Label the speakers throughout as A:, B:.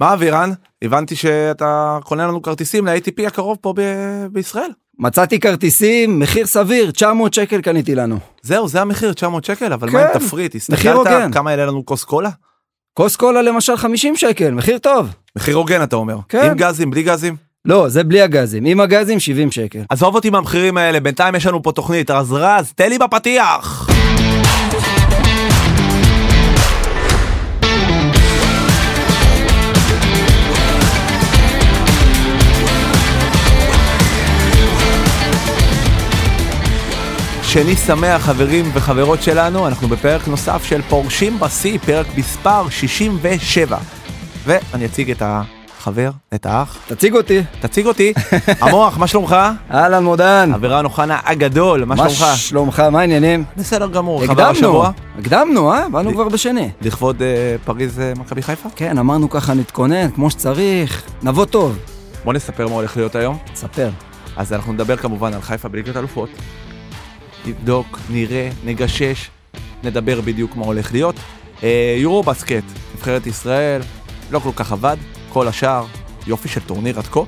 A: מה אבירן? הבנתי שאתה קונה לנו כרטיסים ל-ATP הקרוב פה ב- בישראל.
B: מצאתי כרטיסים, מחיר סביר, 900 שקל קניתי לנו.
A: זהו, זה המחיר, 900 שקל, אבל
B: כן,
A: מה עם תפריט?
B: מחיר הוגן.
A: הסתכלת כמה יעלה לנו כוס קולה?
B: כוס קולה למשל 50 שקל, מחיר טוב.
A: מחיר הוגן אתה אומר.
B: כן.
A: עם גזים, בלי גזים?
B: לא, זה בלי הגזים, עם הגזים 70 שקל.
A: עזוב אותי מהמחירים האלה, בינתיים יש לנו פה תוכנית, אז רז, תן לי בפתיח! שני שמח חברים וחברות שלנו, אנחנו בפרק נוסף של פורשים בשיא, פרק מספר 67. ואני אציג את החבר, את האח,
B: תציג אותי.
A: תציג אותי. המוח, מה שלומך?
B: אהלן מודן.
A: אבירן אוחנה הגדול, מה שלומך?
B: מה שלומך, מה העניינים?
A: בסדר גמור, חבר
B: הקדמנו,
A: השבוע.
B: הקדמנו, אה? באנו
A: די-
B: כבר בשני.
A: לכבוד אה, פריז אה, מכבי חיפה?
B: כן, אמרנו ככה נתכונן כמו שצריך, נבוא טוב.
A: בוא נספר מה הולך להיות היום.
B: תספר.
A: אז אנחנו נדבר כמובן על חיפה בליגת אלופות. נבדוק, נראה, נגשש, נדבר בדיוק מה הולך להיות. אה, יורו בסקט, נבחרת ישראל, לא כל כך עבד, כל השאר, יופי של טורניר עד כה.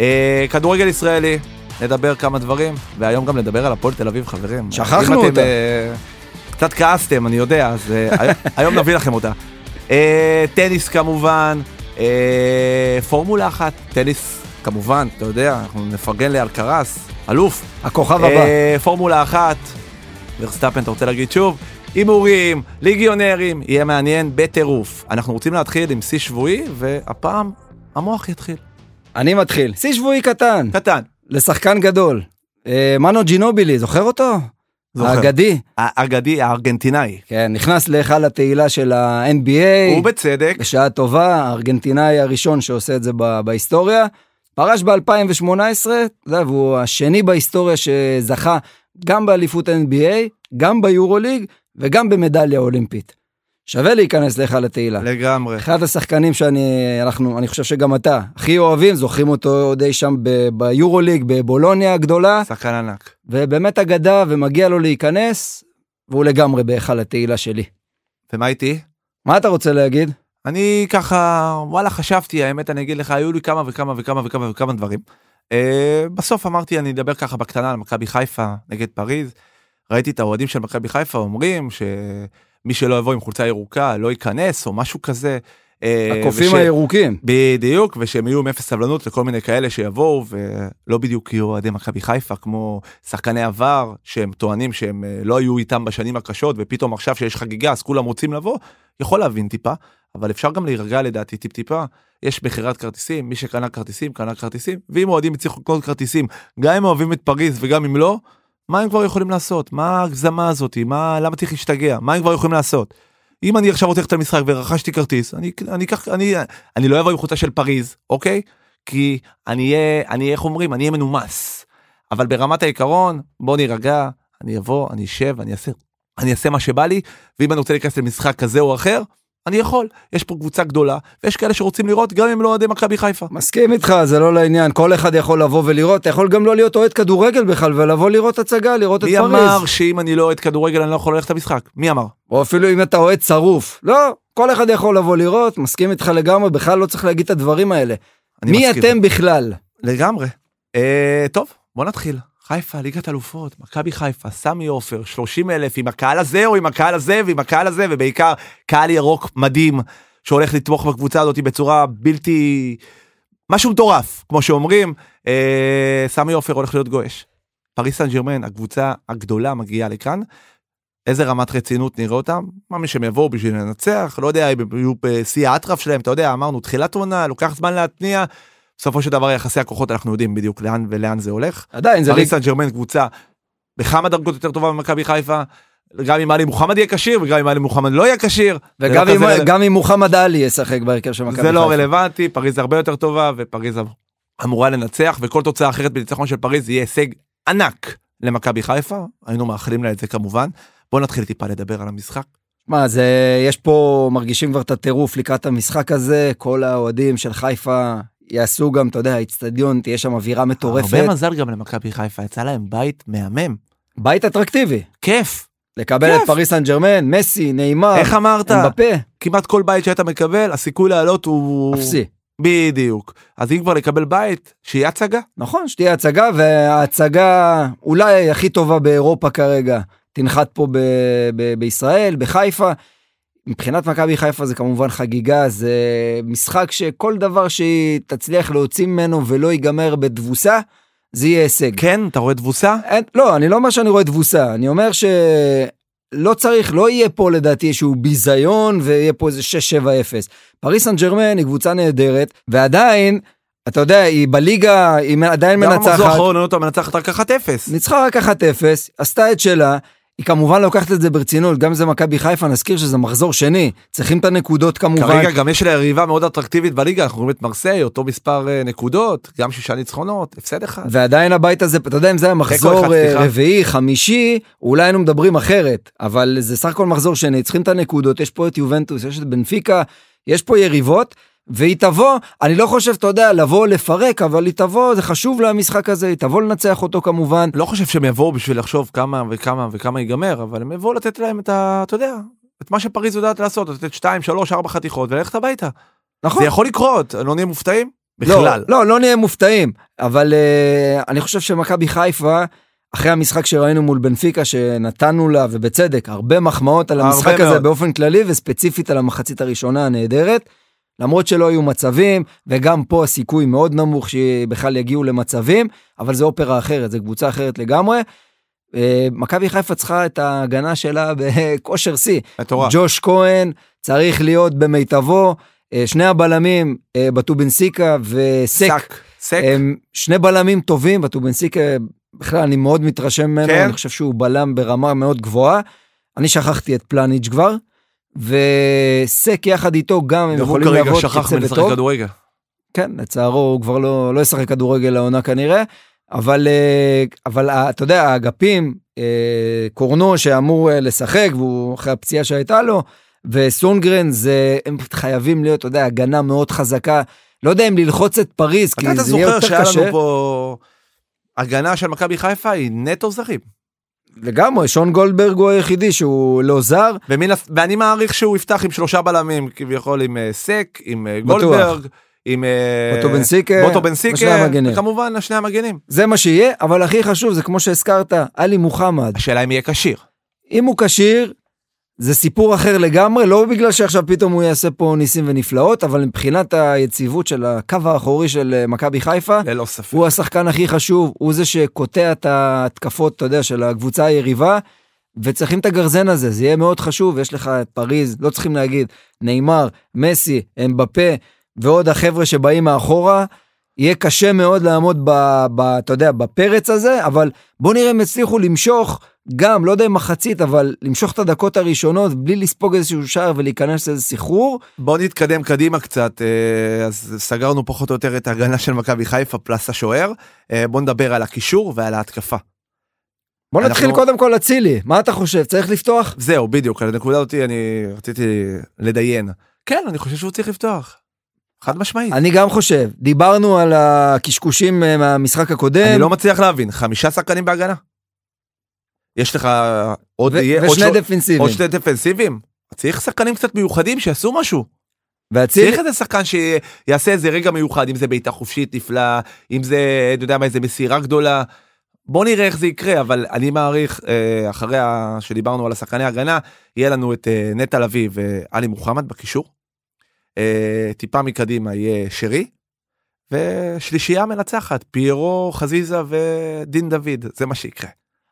A: אה, כדורגל ישראלי, נדבר כמה דברים, והיום גם נדבר על הפועל תל אביב, חברים.
B: שכחנו
A: אם אתם,
B: אותה.
A: אה, קצת כעסתם, אני יודע, אז אה, היום- היום נביא לכם אותה. אה, טניס כמובן, אה, פורמולה אחת, טניס כמובן, אתה יודע, אנחנו נפרגן לאלקרס, אלוף.
B: הכוכב הבא.
A: אה, פורמולה אחת, ורסטאפן, אתה רוצה להגיד שוב? הימורים, ליגיונרים, יהיה מעניין בטירוף. אנחנו רוצים להתחיל עם שיא שבועי, והפעם המוח יתחיל.
B: אני מתחיל. שיא שבועי קטן,
A: קטן.
B: לשחקן גדול. אה, מנו ג'ינובילי, זוכר אותו?
A: זוכר.
B: האגדי.
A: האגדי הארגנטינאי.
B: כן, נכנס להיכל התהילה של ה-NBA.
A: ובצדק,
B: בשעה טובה, הארגנטינאי הראשון שעושה את זה ב- בהיסטוריה. פרש ב-2018, והוא השני בהיסטוריה שזכה גם באליפות NBA, גם ביורוליג וגם במדליה אולימפית. שווה להיכנס להיכל התהילה.
A: לגמרי.
B: אחד השחקנים שאני, אנחנו, אני חושב שגם אתה, הכי אוהבים, זוכרים אותו עוד אי שם ב- ביורוליג, בבולוניה הגדולה,
A: שחקן ענק.
B: ובאמת אגדה, ומגיע לו להיכנס, והוא לגמרי בהיכל התהילה שלי.
A: ומה איתי?
B: מה אתה רוצה להגיד?
A: אני ככה, וואלה, חשבתי, האמת, אני אגיד לך, היו לי כמה וכמה וכמה וכמה וכמה דברים. אה, בסוף אמרתי, אני אדבר ככה בקטנה על מכבי חיפה נגד פריז. ראיתי את האוהדים של מכבי חיפה אומרים שמי שלא יבוא עם חולצה ירוקה לא ייכנס, או משהו כזה. אה,
B: הקופים
A: וש-
B: הירוקים.
A: בדיוק, ושהם יהיו עם אפס סבלנות לכל מיני כאלה שיבואו, ולא בדיוק יהיו אוהדי מכבי חיפה, כמו שחקני עבר, שהם טוענים שהם אה, לא היו איתם בשנים הקשות, ופתאום עכשיו שיש חגיגה אז כולם רוצים לבוא, יכול להבין טיפה, אבל אפשר גם להירגע לדעתי טיפ-טיפה. יש מכירת כרטיסים, מי שקנה כרטיסים, קנה כרטיסים, ואם אוהדים הצליחו לקנות כרטיסים, גם אם אוהבים את פריז וגם אם לא, מה הם כבר יכולים לעשות? מה ההגזמה הזאת? מה, למה צריך להשתגע? מה הם כבר יכולים לעשות? אם אני עכשיו רוצה ללכת למשחק ורכשתי כרטיס, אני, אני, אקח- אני, אני לא אבוא עם חולצה של פריז, אוקיי? כי אני אהיה, אני אהיה, איך אומרים, אני אהיה מנומס. אבל ברמת העיקרון, בוא נירגע, אני אבוא, אני אשב, אני אעשה, אני אעשה מה שבא לי, ואם אני רוצה להיכנס למשחק כזה או אחר, אני יכול. יש פה קבוצה גדולה, ויש כאלה שרוצים לראות גם אם לא אוהדי מכבי חיפה.
B: מסכים איתך, זה לא לעניין, כל אחד יכול לבוא ולראות, אתה יכול גם לא להיות אוהד כדורגל בכלל, ולבוא לראות הצגה, לראות את
A: מי
B: פריז.
A: אמר שאם אני לא אוהד כדורגל אני לא יכול ללכת למשחק? מי אמר?
B: או אפילו אם אתה אוהד שרוף. לא, כל אחד יכול לבוא לראות, מסכים איתך לגמרי, בכלל לא צריך להגיד את הדברים האלה.
A: אני
B: מי
A: מסכים.
B: אתם בכלל?
A: לגמרי. אה, טוב, בוא נתחיל. חיפה, ליגת אלופות, מכבי חיפה, סמי עופר, 30 אלף עם הקהל הזה או עם הקהל הזה ועם הקהל הזה, ובעיקר קהל ירוק מדהים שהולך לתמוך בקבוצה הזאת בצורה בלתי... משהו מטורף, כמו שאומרים. אה, סמי עופר הולך להיות גועש. פריס סן ג'רמן, הקבוצה הגדולה מגיעה לכאן. איזה רמת רצינות נראה אותם? מאמין שהם יבואו בשביל לנצח, לא יודע, הם יהיו בשיא האטרף שלהם, אתה יודע, אמרנו, תחילת עונה, לוקח זמן להתניע, בסופו של דבר יחסי הכוחות אנחנו יודעים בדיוק לאן ולאן זה הולך.
B: עדיין, זה
A: פריס
B: ליגה.
A: סן ג'רמן קבוצה בכמה דרגות יותר טובה ממכבי חיפה. גם אם עלי מוחמד יהיה כשיר וגם אם עלי מוחמד לא יהיה כשיר. זה לא
B: וגם אם-
A: כזה רלו-
B: גם אם מוחמד עלי ישחק בהרכב של מכבי
A: זה לא
B: חיפה.
A: רלוונטי, פריז הרבה יותר טובה ופריז אמורה לנצח וכל תוצאה אחרת בניצחון של פריז יהיה הישג ענק למכבי חיפה. היינו מאחלים לה את זה כמובן. בוא נתחיל טיפה לדבר על המשחק.
B: מה זה, יש פה, מרגישים כבר את הטירוף לקראת המשחק הזה, כל האוהדים של חיפה יעשו גם, אתה יודע, האיצטדיון, תהיה שם אווירה מטורפת.
A: הרבה מזל גם למכבי חיפה, יצא להם בית מהמם.
B: בית אטרקטיבי.
A: כיף.
B: לקבל את
A: כיף.
B: פריס סן ג'רמן, מסי, נעימה,
A: איך אמרת?
B: אמבפה,
A: כמעט כל בית שאתה מקבל, הסיכוי לעלות הוא...
B: אפסי.
A: בדיוק. אז אם כבר לקבל בית, שיהיה הצגה.
B: נכון, שתהיה הצגה, וההצגה אולי הכי טובה באירופה כרגע, תנחת פה ב- ב- בישראל, בחיפה. מבחינת מכבי חיפה זה כמובן חגיגה, זה משחק שכל דבר שהיא תצליח להוציא ממנו ולא ייגמר בתבוסה, זה יהיה הישג.
A: כן, אתה רואה תבוסה?
B: אין, לא, אני לא אומר שאני רואה תבוסה, אני אומר שלא צריך, לא יהיה פה לדעתי איזשהו ביזיון ויהיה פה איזה 6-7-0. פריס סן ג'רמן היא קבוצה נהדרת, ועדיין, אתה יודע, היא בליגה, היא עדיין
A: גם במחזור
B: מנצחת,
A: האחרון אותה מנצחת רק 1-0.
B: ניצחה רק 1-0, עשתה את שלה. היא כמובן לוקחת את זה ברצינות, גם אם זה מכבי חיפה, נזכיר שזה מחזור שני, צריכים את הנקודות כמובן.
A: כרגע גם יש לה יריבה מאוד אטרקטיבית בליגה, אנחנו רואים את מרסיי, אותו מספר אה, נקודות, גם שישה ניצחונות, הפסד אחד.
B: ועדיין הבית הזה, אתה יודע אם זה היה
A: אחד,
B: מחזור אה,
A: סליחה.
B: רביעי, חמישי, אולי היינו מדברים אחרת, אבל זה סך הכל מחזור שני, צריכים את הנקודות, יש פה את יובנטוס, יש את בנפיקה, יש פה יריבות, והיא תבוא, אני לא חושב, אתה יודע, לבוא לפרק, אבל היא תבוא, זה חשוב לה המשחק הזה, היא תבוא לנצח אותו כמובן. נכון?
A: לא חושב שהם יבואו בשביל לחשוב כמה וכמה וכמה ייגמר, אבל הם יבואו לתת להם את ה... אתה יודע, את מה שפריז יודעת לעשות, לתת 2, 3, 4 חתיכות וללכת הביתה.
B: נכון.
A: זה יכול לקרות, לא נהיה מופתעים?
B: לא,
A: בכלל.
B: לא, לא נהיה מופתעים, אבל uh, אני חושב שמכבי חיפה, אחרי המשחק שראינו מול בנפיקה, שנתנו לה, ובצדק, הרבה מחמאות על
A: הרבה
B: המשחק הזה
A: מאוד.
B: באופן כללי, וספציפית על המחצית הראשונה הנהדרת, למרות שלא היו מצבים, וגם פה הסיכוי מאוד נמוך שבכלל יגיעו למצבים, אבל זה אופרה אחרת, זו קבוצה אחרת לגמרי. אה, מכבי חיפה צריכה את ההגנה שלה בכושר שיא.
A: מטורף.
B: ג'וש כהן צריך להיות במיטבו, אה, שני הבלמים, אה, בטובנסיקה וסק,
A: סק.
B: הם שני בלמים טובים, בטובנסיקה בכלל אני מאוד מתרשם ממנו,
A: כן.
B: אני חושב שהוא בלם ברמה מאוד גבוהה. אני שכחתי את פלניץ' כבר, וסק יחד איתו גם הם
A: הוא
B: יכולים
A: נכון, כרגע
B: לעבוד
A: שכח
B: כצוות
A: מלשחק
B: טוב.
A: כדורגל.
B: כן, לצערו הוא כבר לא, לא ישחק כדורגל העונה כנראה, אבל, אה, אבל אה, אתה יודע, האגפים, אה, קורנו שאמור אה, לשחק, והוא אחרי הפציעה שהייתה לו, וסונגרן, זה, הם חייבים להיות, אתה יודע, הגנה מאוד חזקה. לא יודע אם ללחוץ את פריז,
A: אתה
B: כי
A: אתה
B: זה יהיה
A: זוכר
B: יותר
A: שהיה
B: קשה.
A: לנו פה הגנה של מכבי חיפה היא נטו זרים.
B: לגמרי, שון גולדברג הוא היחידי שהוא לא זר,
A: ומן הס- ואני מעריך שהוא יפתח עם שלושה בלמים כביכול עם אה, סק, עם אה,
B: בטוח.
A: גולדברג, עם אה,
B: אותו בן סיקה,
A: בוטו בן
B: ושני
A: סיקה,
B: המגנים.
A: וכמובן שני המגנים.
B: זה מה שיהיה, אבל הכי חשוב, זה כמו שהזכרת, עלי מוחמד.
A: השאלה אם יהיה כשיר.
B: אם הוא כשיר, זה סיפור אחר לגמרי, לא בגלל שעכשיו פתאום הוא יעשה פה ניסים ונפלאות, אבל מבחינת היציבות של הקו האחורי של אה, מכבי חיפה,
A: ללא ספק.
B: הוא השחקן הכי חשוב, הוא זה שקוטע את ההתקפות, אתה יודע, של הקבוצה היריבה, וצריכים את הגרזן הזה, זה יהיה מאוד חשוב, יש לך את פריז, לא צריכים להגיד, נאמר, מסי, אמבפה, ועוד החבר'ה שבאים מאחורה, יהיה קשה מאוד לעמוד ב... ב אתה יודע, בפרץ הזה, אבל בוא נראה אם יצליחו למשוך, גם, לא יודע אם מחצית, אבל למשוך את הדקות הראשונות, בלי לספוג איזשהו שער ולהיכנס לאיזה סחרור,
A: בואו נתקדם קדימה קצת, אה, אז סגרנו פחות או יותר את ההגנה של מכבי חיפה פלס השוער. אה, בואו נדבר על הקישור ועל ההתקפה.
B: בוא
A: אנחנו-
B: נתחיל קודם כל אצילי, מה אתה חושב, צריך לפתוח?
A: זהו, בדיוק, על הנקודה אותי אני רציתי לדיין. כן, אני חושב שהוא צריך לפתוח. חד משמעית.
B: אני גם חושב, דיברנו על הקשקושים אה, מהמשחק הקודם.
A: אני לא מצליח להבין, חמישה שחקנים בהגנה? יש לך עוד...
B: ו-
A: יהיה- עוד
B: ושני
A: שו-
B: דפנסיבים.
A: עוד שני דפנסיבים? צריך שחקנים קצת מיוחדים שיעשו משהו.
B: ואצילי,
A: צריך איזה שחקן שיעשה איזה רגע מיוחד, אם זה בעיטה חופשית נפלאה, אם זה, אתה יודע מה, איזה מסירה גדולה. בוא נראה איך זה יקרה, אבל אני מעריך, אה, אחרי ה- שדיברנו על השחקני ההגנה, יהיה לנו את אה, נטע לביא ועלי מוחמד בקישור. אה, טיפה מקדימה יהיה שרי. ושלישייה מנצחת, פיירו, חזיזה ודין דוד, זה מה שיקרה.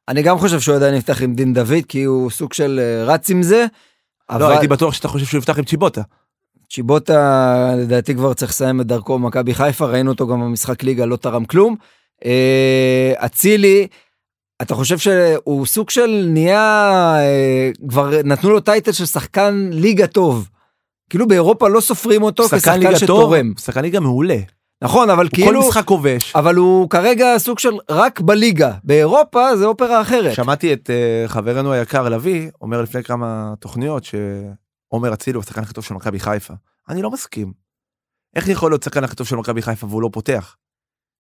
B: אני גם חושב שהוא עדיין יפתח עם דין דוד, כי הוא סוג של אה, רץ עם זה.
A: לא,
B: אבל
A: הייתי בטוח שאתה חושב שהוא יפתח עם צ'יבוטה.
B: צ'יבוטה, לדעתי כבר צריך לסיים את דרכו במכבי חיפה, ראינו אותו גם במשחק ליגה, לא תרם כלום. אה, אצילי, אתה חושב שהוא סוג של נהיה, אה, כבר נתנו לו טייטל של שחקן ליגה טוב. כאילו באירופה לא סופרים אותו
A: שחקן
B: כשחקן
A: ליגה טוב,
B: שתורם.
A: שחקן ליגה מעולה.
B: נכון, אבל
A: הוא כל
B: כאילו...
A: משחק כובש.
B: אבל הוא כרגע סוג של רק בליגה, באירופה זה אופרה אחרת.
A: שמעתי את אה, חברנו היקר לביא אומר לפני כמה תוכניות שעומר אצילי הוא השחקן הכי טוב של מכבי חיפה. אני לא מסכים. איך יכול להיות שחקן הכי טוב של מכבי חיפה והוא לא פותח?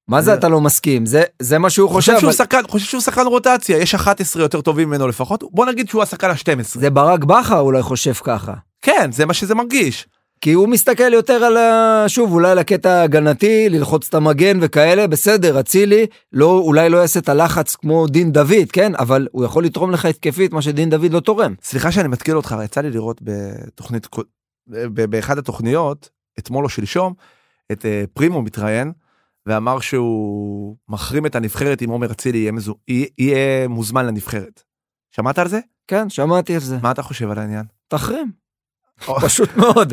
B: מה זה אתה לא מסכים? זה- זה מה שהוא חושב.
A: חושב שהוא
B: אבל-
A: שחקן, חושב שהוא שחקן רוטציה, יש 11 יותר טובים ממנו לפחות, בוא נגיד שהוא השחקן ה-12.
B: זה ברק בכר אולי חושב ככה.
A: כן, זה מה שזה מרגיש.
B: כי הוא מסתכל יותר על ה... שוב, אולי על הקטע ההגנתי, ללחוץ את המגן וכאלה, בסדר, אצילי, לא, אולי לא יעשה את הלחץ כמו דין דוד, כן? אבל הוא יכול לתרום לך התקפית, מה שדין דוד לא תורם.
A: סליחה שאני מתקיל אותך, יצא לי לראות בתוכנית, קו- ב- באחד התוכניות, אתמול או שלשום, את אה, פרימו מתראיין, ואמר שהוא מחרים את הנבחרת אם עומר אצילי יהיה, מזו... יהיה- יהיה מוזמן לנבחרת. שמעת על זה?
B: כן, שמעתי על זה.
A: מה אתה חושב על העניין?
B: תחרים. פשוט מאוד.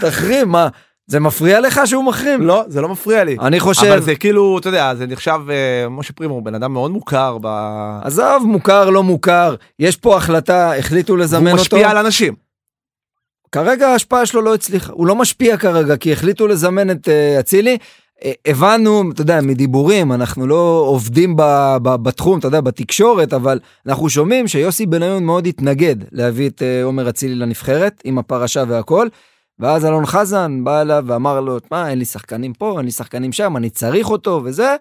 B: תחרים, מה? זה מפריע לך שהוא מחרים?
A: לא, זה לא מפריע לי.
B: אני חושב...
A: אבל זה כאילו, אתה יודע, זה נחשב, אה, משה פרימו הוא בן אדם מאוד מוכר, ב...
B: עזוב, מוכר, לא מוכר, יש פה החלטה, החליטו לזמן
A: הוא
B: אותו.
A: משפיע על אנשים.
B: כרגע ההשפעה שלו לא הצליחה, הוא לא משפיע כרגע, כי החליטו לזמן את אה, אצילי. אה, הבנו, אתה יודע, מדיבורים, אנחנו לא עובדים ב, ב, בתחום, אתה יודע, בתקשורת, אבל אנחנו שומעים שיוסי בניון מאוד התנגד להביא את אה, עומר אצילי לנבחרת, עם הפרשה והכל. ואז אלון חזן בא אליו ואמר לו, מה, אין לי שחקנים פה, אין לי שחקנים שם, אני צריך אותו וזה.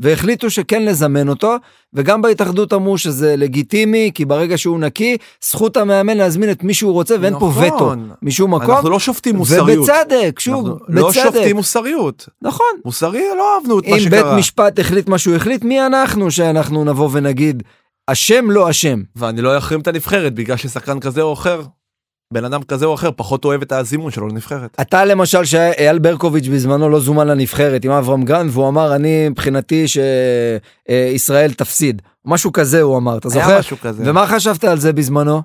B: והחליטו שכן לזמן אותו, וגם בהתאחדות אמרו שזה לגיטימי, כי ברגע שהוא נקי, זכות המאמן להזמין את מי שהוא רוצה, ואין פה וטו.
A: נכון.
B: משום מקום,
A: אנחנו לא שופטים מוסריות.
B: ובצדק, שוב,
A: אנחנו לא
B: בצדק,
A: שופטים מוסריות.
B: נכון.
A: מוסרי לא אהבנו את מה
B: אם בית
A: שקרה.
B: משפט החליט מה שהוא החליט, מי אנחנו שאנחנו נבוא ונגיד, אשם לא אשם.
A: ואני לא אחרים את הנבחרת בגלל ששחקן כזה או אחר, בן אדם כזה או אחר פחות אוהב את הזימון שלו לנבחרת.
B: אתה למשל, שאייל ברקוביץ' בזמנו לא זומן לנבחרת עם אברהם גרנד, והוא אמר, אני מבחינתי שישראל תפסיד. משהו כזה הוא אמר, אתה זוכר?
A: היה משהו כזה.
B: ומה חשבת על זה בזמנו?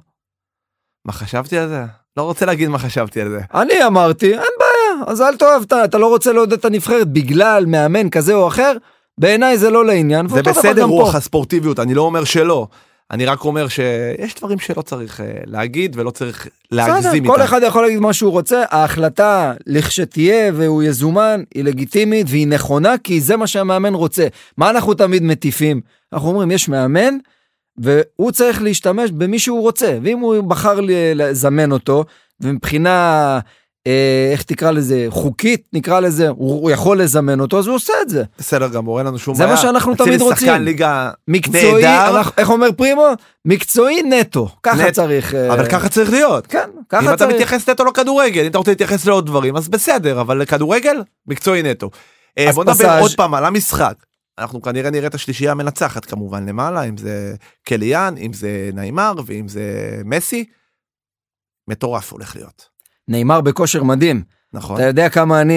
A: מה חשבתי על זה? לא רוצה להגיד מה חשבתי על זה.
B: אני אמרתי, אין בעיה, אז אל תאהב, אתה, אתה לא רוצה לעודד את הנבחרת בגלל מאמן כזה או אחר? בעיניי זה לא לעניין,
A: זה
B: ואותו דבר
A: בסדר
B: גם פה.
A: רוח הספורטיביות, אני לא אומר שלא. אני רק אומר שיש דברים שלא צריך אה, להגיד ולא צריך להגזים
B: בסדר, כל
A: איתם.
B: אחד יכול להגיד מה שהוא רוצה, ההחלטה לכשתהיה והוא יזומן היא לגיטימית והיא נכונה כי זה מה שהמאמן רוצה. מה אנחנו תמיד מטיפים? אנחנו אומרים יש מאמן והוא צריך להשתמש במי שהוא רוצה ואם הוא בחר ל- לזמן אותו ומבחינה אה, איך תקרא לזה חוקית נקרא לזה הוא, הוא יכול לזמן אותו אז הוא עושה את זה.
A: בסדר גמור, אין לנו שום
B: זה
A: בעיה.
B: מה שאנחנו
A: אצילי
B: תמיד
A: שחקן
B: רוצים.
A: ליגה
B: מקצועי,
A: נהדר.
B: אנחנו, איך אומר פרימו? מקצועי נטו ככה
A: נט-
B: צריך. אה,
A: אבל ככה צריך להיות.
B: כן,
A: אם
B: ככה
A: אתה
B: צריך.
A: מתייחס נטו לכדורגל, אם אתה רוצה להתייחס לעוד דברים, אז בסדר, אבל לכדורגל, מקצועי נטו. אה,
B: אז
A: בוא נדבר
B: פסאז'.
A: עוד פעם על המשחק. אנחנו כנראה נראה את השלישייה המנצחת כמובן למעלה, אם זה קליאן, אם זה נעימר ואם זה מסי. מטורף הולך להיות.
B: נאמר בכושר מדהים.
A: נכון.
B: אתה יודע כמה אני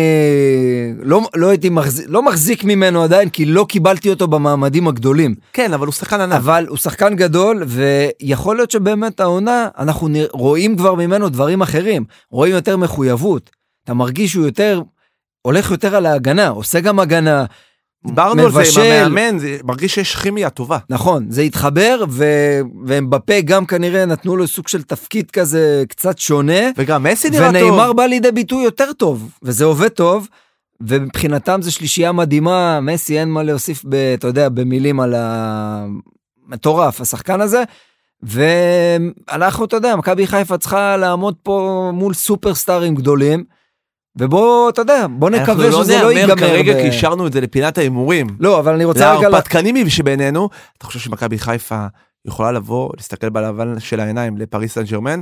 B: לא, לא הייתי מחזיק, לא מחזיק ממנו עדיין, כי לא קיבלתי אותו במעמדים הגדולים.
A: כן, אבל הוא שחקן ענק.
B: אבל הוא שחקן גדול, ויכול להיות שבאמת העונה, אנחנו נרא- רואים כבר ממנו דברים אחרים. רואים יותר מחויבות. אתה מרגיש שהוא יותר, הולך יותר על ההגנה, עושה גם הגנה.
A: דיברנו על זה עם
B: מבשל.
A: המאמן, זה מרגיש שיש כימיה טובה.
B: נכון, זה התחבר, ו... והם בפה גם כנראה נתנו לו סוג של תפקיד כזה קצת שונה.
A: וגם מסי נראה טוב.
B: ונאמר בא לידי ביטוי יותר טוב, וזה עובד טוב, ומבחינתם זו שלישייה מדהימה, מסי אין מה להוסיף, ב, אתה יודע, במילים על המטורף, השחקן הזה, ואנחנו, אתה יודע, מכבי חיפה צריכה לעמוד פה מול סופרסטארים גדולים, ובוא, אתה יודע, בוא
A: אנחנו
B: נקווה שזה לא
A: נהמר
B: ייגמר.
A: כרגע
B: ב-
A: כי השארנו את זה לפינת ההימורים.
B: לא, אבל אני רוצה רגע... לה-
A: להרפתקנים שבינינו, אתה חושב שמכבי חיפה יכולה לבוא, להסתכל בלבן של העיניים לפריס סן ג'רמן,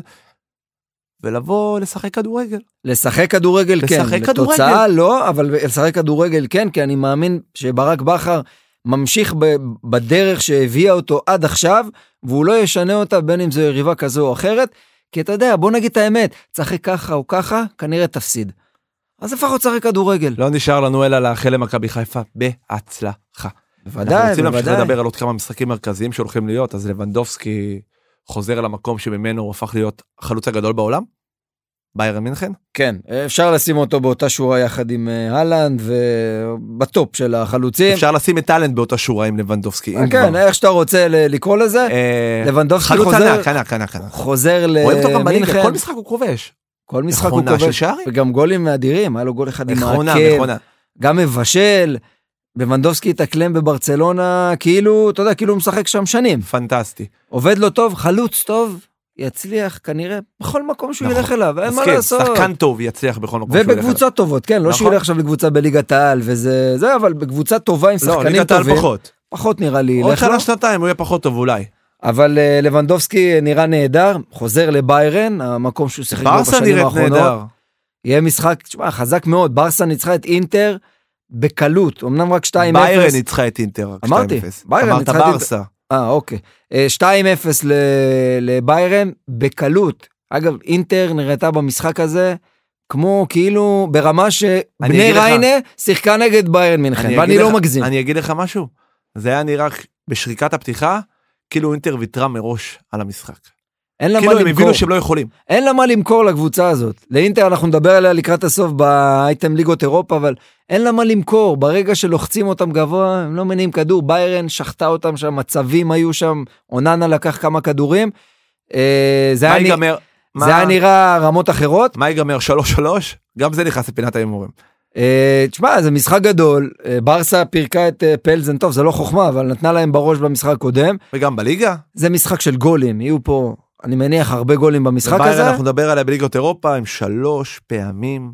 A: ולבוא לשחק כדורגל.
B: לשחק כדורגל כן,
A: לשחק
B: לתוצאה לא, אבל לשחק כדורגל כן, כי אני מאמין שברק בכר ממשיך ב- בדרך שהביאה אותו עד עכשיו, והוא לא ישנה אותה בין אם זו יריבה כזו או אחרת, כי אתה יודע, בוא נגיד את האמת, תשחק ככה או ככה, כנראה תפסיד. אז לפחות תשחק כדורגל.
A: לא נשאר לנו אלא לאחל למכבי חיפה בהצלחה. אנחנו
B: בוודאי,
A: רוצים להמשיך
B: בוודאי.
A: לדבר על עוד כמה משחקים מרכזיים שהולכים להיות, אז לבנדובסקי חוזר למקום שממנו הוא הפך להיות החלוץ הגדול בעולם? ביירן מינכן?
B: כן, אפשר לשים אותו באותה שורה יחד עם אה, אהלנד, ובטופ של החלוצים.
A: אפשר לשים את טאלנט באותה שורה עם לבנדובסקי. אם
B: כן,
A: כבר.
B: איך שאתה רוצה ל- לקרוא לזה.
A: אה,
B: לבנדובסקי
A: חלוץ
B: חוזר,
A: ענק, ענק, ענק, ענק.
B: חוזר
A: רואים אותו גם בליגה,
B: למינכן.
A: כל משחק הוא כובש.
B: כל משחק הוא
A: מכונה של
B: כובש,
A: שערים.
B: וגם גולים אדירים, היה לו גול אחד עם
A: נכונה,
B: העקב,
A: נכונה.
B: גם מבשל, לבנדובסקי התאקלם בברצלונה, כאילו, אתה יודע, כאילו הוא משחק שם שנים.
A: פנטסטי.
B: עובד לו טוב, חלוץ טוב, יצליח כנראה בכל מקום שהוא
A: נכון.
B: ילך אליו, אין
A: אז
B: מה
A: כן,
B: לעשות.
A: שחקן טוב יצליח בכל מקום שהוא ילך
B: ובקבוצות טובות, כן, לא שהוא
A: נכון.
B: ילך עכשיו לקבוצה בליגת העל וזה, זה, אבל בקבוצה טובה עם
A: אליו. לא,
B: שחקנים
A: ליגת העל
B: טובים,
A: פחות.
B: פחות נראה לי
A: עוד
B: ילך לו.
A: שנה שנתיים הוא יהיה פחות טוב אולי.
B: אבל אה, לבנדובסקי נראה נהדר, חוזר לביירן, המקום שהוא שיחק בו
A: ברסה
B: בשנים
A: נראית
B: האחרונות.
A: נהדר.
B: יהיה משחק, תשמע, חזק מאוד, ברסה ניצחה את אינטר בקלות, אמנם רק 2-0.
A: ביירן ניצחה את אינטר. רק
B: אמרתי,
A: 2-0.
B: ביירן
A: אמרת
B: ניצחה את אינטר.
A: ברסה.
B: אה, אוקיי. אה, 2-0 ל- לביירן בקלות. אגב, אינטר נראתה במשחק הזה כמו כאילו ברמה
A: אני
B: שבני
A: אגיד לך-
B: ריינה שיחקה נגד ביירן מינכן,
A: אני
B: ואני
A: אגיד
B: לא
A: לך-
B: מגזים.
A: אני אגיד לך משהו, זה היה נראה בשריקת הפתיחה, כאילו אינטר ויתרה מראש על המשחק.
B: אין לה מה
A: כאילו הם
B: למכור.
A: הבינו שהם לא יכולים.
B: אין לה מה למכור לקבוצה הזאת. לאינטר אנחנו נדבר עליה לקראת הסוף באייטם ליגות אירופה, אבל אין לה מה למכור. ברגע שלוחצים אותם גבוה, הם לא מניעים כדור. ביירן שחטה אותם שם, מצבים היו שם, אוננה לקח כמה כדורים. אה, זה
A: מה
B: היה נ-
A: ייגמר?
B: זה
A: מה-
B: היה נראה רמות אחרות.
A: מה ייגמר 3-3? גם זה נכנס לפינת ההימורים.
B: אה, תשמע, זה משחק גדול. אה, ברסה פירקה את אה, פלזן, טוב, זה לא חוכמה, אבל נתנה להם בראש במשחק הקודם.
A: וגם בליגה.
B: זה משחק של גולים, יהיו פה, אני מניח, הרבה גולים במשחק
A: וביירן,
B: הזה.
A: אנחנו נדבר עליה בליגות אירופה עם שלוש פעמים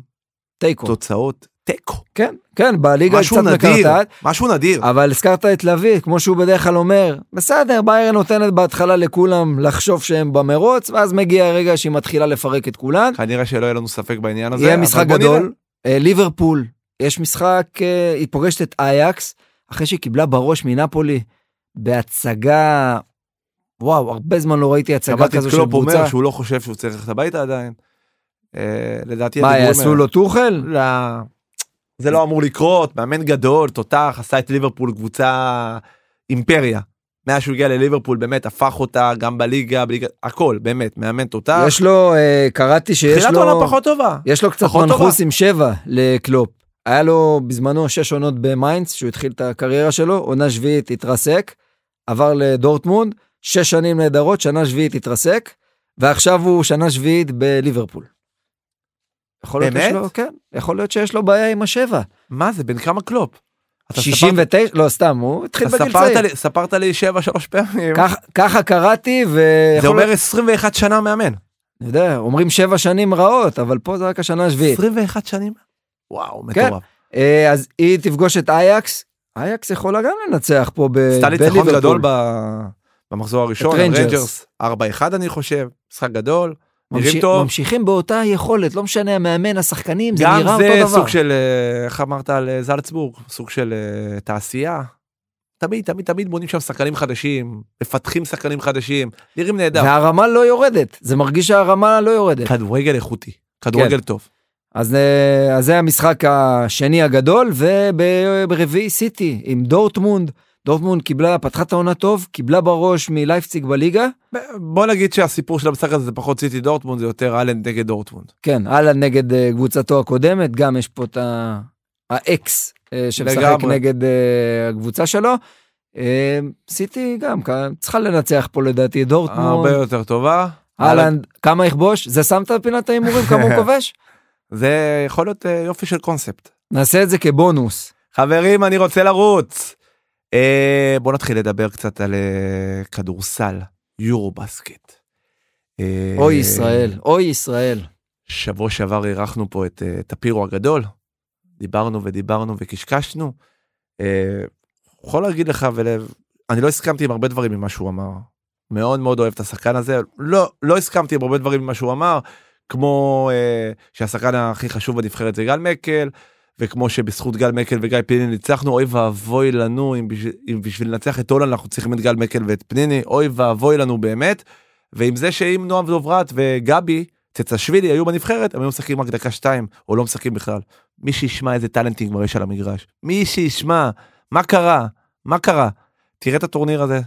B: תיקו.
A: תוצאות תיקו.
B: כן, כן, בליגה היא
A: משהו
B: קצת
A: נדיר,
B: מקרטעת.
A: משהו נדיר.
B: אבל הזכרת את לביא, כמו שהוא בדרך כלל אומר, בסדר, ביירן נותנת בהתחלה לכולם לחשוב שהם במרוץ, ואז מגיע הרגע שהיא מתחילה לפרק את כולן.
A: כנראה שלא יהיה לנו ספק בעניין הזה.
B: יהיה
A: אבל
B: משחק
A: בוא נראה.
B: גדול. אה, ליברפול, יש משחק, אה, היא פוגשת את אייקס, אחרי שהיא קיבלה בראש מנפולי, בהצגה, וואו, הרבה זמן לא ראיתי הצגה
A: שמעתי את
B: כזו של
A: קלופ אומר
B: קבוצה.
A: שהוא לא חושב שהוא צריך ללכת הביתה עדיין. אה, לדעתי
B: מה,
A: הדיבורים
B: יעשו
A: האלה-
B: לו טוחל?
A: לא, זה לא אמור לקרות, מאמן גדול, תותח, עשה את ליברפול קבוצה אימפריה. מאז שהוא הגיע לליברפול באמת הפך אותה גם בליגה, בליגה, הכל, באמת, מאמן תותח.
B: יש לו, אה, קראתי שיש
A: תחילת
B: לו,
A: עונה לא. פחות טובה.
B: יש לו קצת
A: פחות טובה.
B: מנחוס עם שבע לקלופ. היה לו בזמנו שש עונות במיינדס, שהוא התחיל את הקריירה שלו, עונה שביעית התרסק, עבר לדורטמונד, שש שנים נהדרות, שנה שביעית התרסק, ועכשיו הוא שנה שביעית בליברפול. יכול להיות
A: באמת?
B: יש לו, כן, יכול להיות שיש לו בעיה עם השבע.
A: מה זה, בן כמה קלופ? אתה
B: 69, לא, סתם, הוא התחיל
A: ספרת- אתה
B: בגיל
A: ספרת
B: צעיר.
A: לי- ספרת לי 7-3 פעמים.
B: כך- ככה קראתי,
A: זה
B: ויכול
A: אומר
B: להיות,
A: 21 שנה מאמן.
B: אני יודע, אומרים שבע שנים רעות, אבל פה זה רק השנה השביעית.
A: 21 שנים? וואו,
B: כן.
A: מטורף.
B: אה, אז היא תפגוש את אייקס, אייקס יכולה גם לנצח פה ב-
A: עשתה לי ניצחון
B: בליברפול.
A: גדול אה, ב- במחזור הראשון,
B: רנג'רס.
A: רנג'רס 4-1 אני חושב, משחק גדול, נראים
B: ממשיך-
A: טוב.
B: ממשיכים באותה יכולת, לא משנה המאמן, השחקנים, זה
A: גם
B: נראה אותו דבר.
A: זה סוג של, אה, איך אמרת על אה, זלצבורג, סוג של אה, תעשייה. תמיד, תמיד, תמיד בונים שם שחקנים חדשים, מפתחים שחקנים חדשים, נראים נהדר.
B: והרמה לא יורדת, זה מרגיש שהרמה לא יורדת.
A: כדורגל איכותי, כדורגל טוב.
B: אז, אה, אז זה המשחק השני הגדול, וברביעי סיטי עם דורטמונד. דורטמונד קיבלה, פתחה את העונה טוב, קיבלה בראש מלייפציג בליגה.
A: ב- בוא נגיד שהסיפור של המשחק הזה זה פחות סיטי דורטמונד, זה יותר אהלן נגד דורטמונד.
B: כן, אהלן נגד אה, קבוצתו הקודמת, גם יש פה את ה- האקס אה, שמשחק
A: לגמרי.
B: נגד אה, הקבוצה שלו. אה, סיטי גם, כ- צריכה לנצח פה לדעתי את
A: הרבה
B: דורטמונד.
A: יותר טובה.
B: אהלן, כמה יכבוש? זה שמת בפינת ההימורים כמה הוא כובש?
A: זה יכול להיות אה, יופי של קונספט.
B: נעשה את זה כבונוס.
A: חברים, אני רוצה לרוץ. אה, בוא נתחיל לדבר קצת על אה, כדורסל, יורו בסקט. אה,
B: אוי ישראל, אוי ישראל.
A: שבוע שעבר אירחנו פה את אה, טפירו הגדול, דיברנו ודיברנו וקשקשנו. אה, יכול להגיד לך, ולב, אני לא הסכמתי עם הרבה דברים ממה שהוא אמר. מאוד מאוד אוהב את השחקן הזה, לא, לא הסכמתי עם הרבה דברים ממה שהוא אמר, כמו אה, שהשחקן הכי חשוב בנבחרת זה גל מקל, וכמו שבזכות גל מקל וגיא פניני ניצחנו, אוי ואבוי לנו, אם בשביל, אם בשביל לנצח את הולנד אנחנו צריכים את גל מקל ואת פניני, אוי ואבוי לנו באמת. ועם זה שאם נועם דוברת וגבי צצשווילי היו בנבחרת, הם היו משחקים רק דקה שתיים, או לא משחקים בכלל. מי שישמע איזה טאלנטים כבר יש על המגרש. מי שישמע, מה קרה? מה קרה? תראה את הטורניר הזה.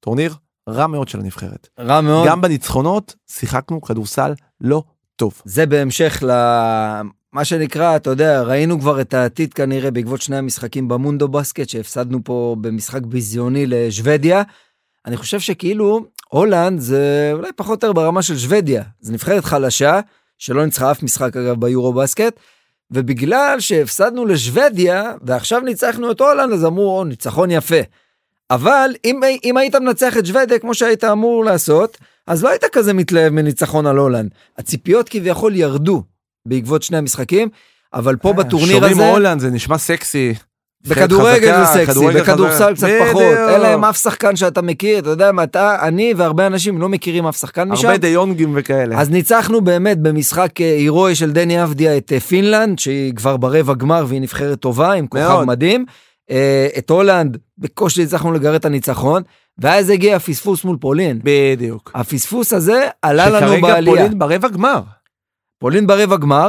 A: טורניר רע מאוד של הנבחרת.
B: רע מאוד.
A: גם בניצחונות שיחקנו כדורסל לא טוב.
B: זה בהמשך למה שנקרא, אתה יודע, ראינו כבר את העתיד כנראה בעקבות שני המשחקים במונדו בסקט שהפסדנו פה במשחק ביזיוני לשוודיה. אני חושב שכאילו הולנד זה אולי פחות או יותר ברמה של שוודיה. זו נבחרת חלשה, שלא ניצחה אף משחק אגב ביורו בסקט, ובגלל שהפסדנו לשוודיה ועכשיו ניצחנו את הולנד אז אמרו, או, ניצחון יפה. אבל אם, אם היית מנצח את שוודיה כמו שהיית אמור לעשות, אז לא היית כזה מתלהב מניצחון על הולנד. הציפיות כביכול ירדו בעקבות שני המשחקים, אבל
A: אה,
B: פה בטורניר
A: שומעים
B: הזה,
A: הולנד זה נשמע סקסי.
B: בכדורגל
A: חזקה,
B: זה סקסי,
A: כדורגל חזק.
B: בכדורסל קצת פחות,
A: בדיוק.
B: אין להם אף שחקן שאתה מכיר, אתה יודע מה, אתה, אני והרבה אנשים לא מכירים אף שחקן משם.
A: הרבה דיונגים וכאלה.
B: אז ניצחנו באמת במשחק אה, הירואי של דני אבדיה את אה, פינלנד, שהיא כבר ברבע גמר והיא נבחרת טובה עם כוכב
A: מאוד.
B: מדהים. אה, את הולנד, בקושי הצלחנו לגרד את הניצחון, ואז הגיע הפספוס מול פולין.
A: בדיוק.
B: הפספוס הזה עלה לנו
A: שכרגע
B: בעלייה.
A: פולין ברבע גמר.
B: פולין ברבע גמר,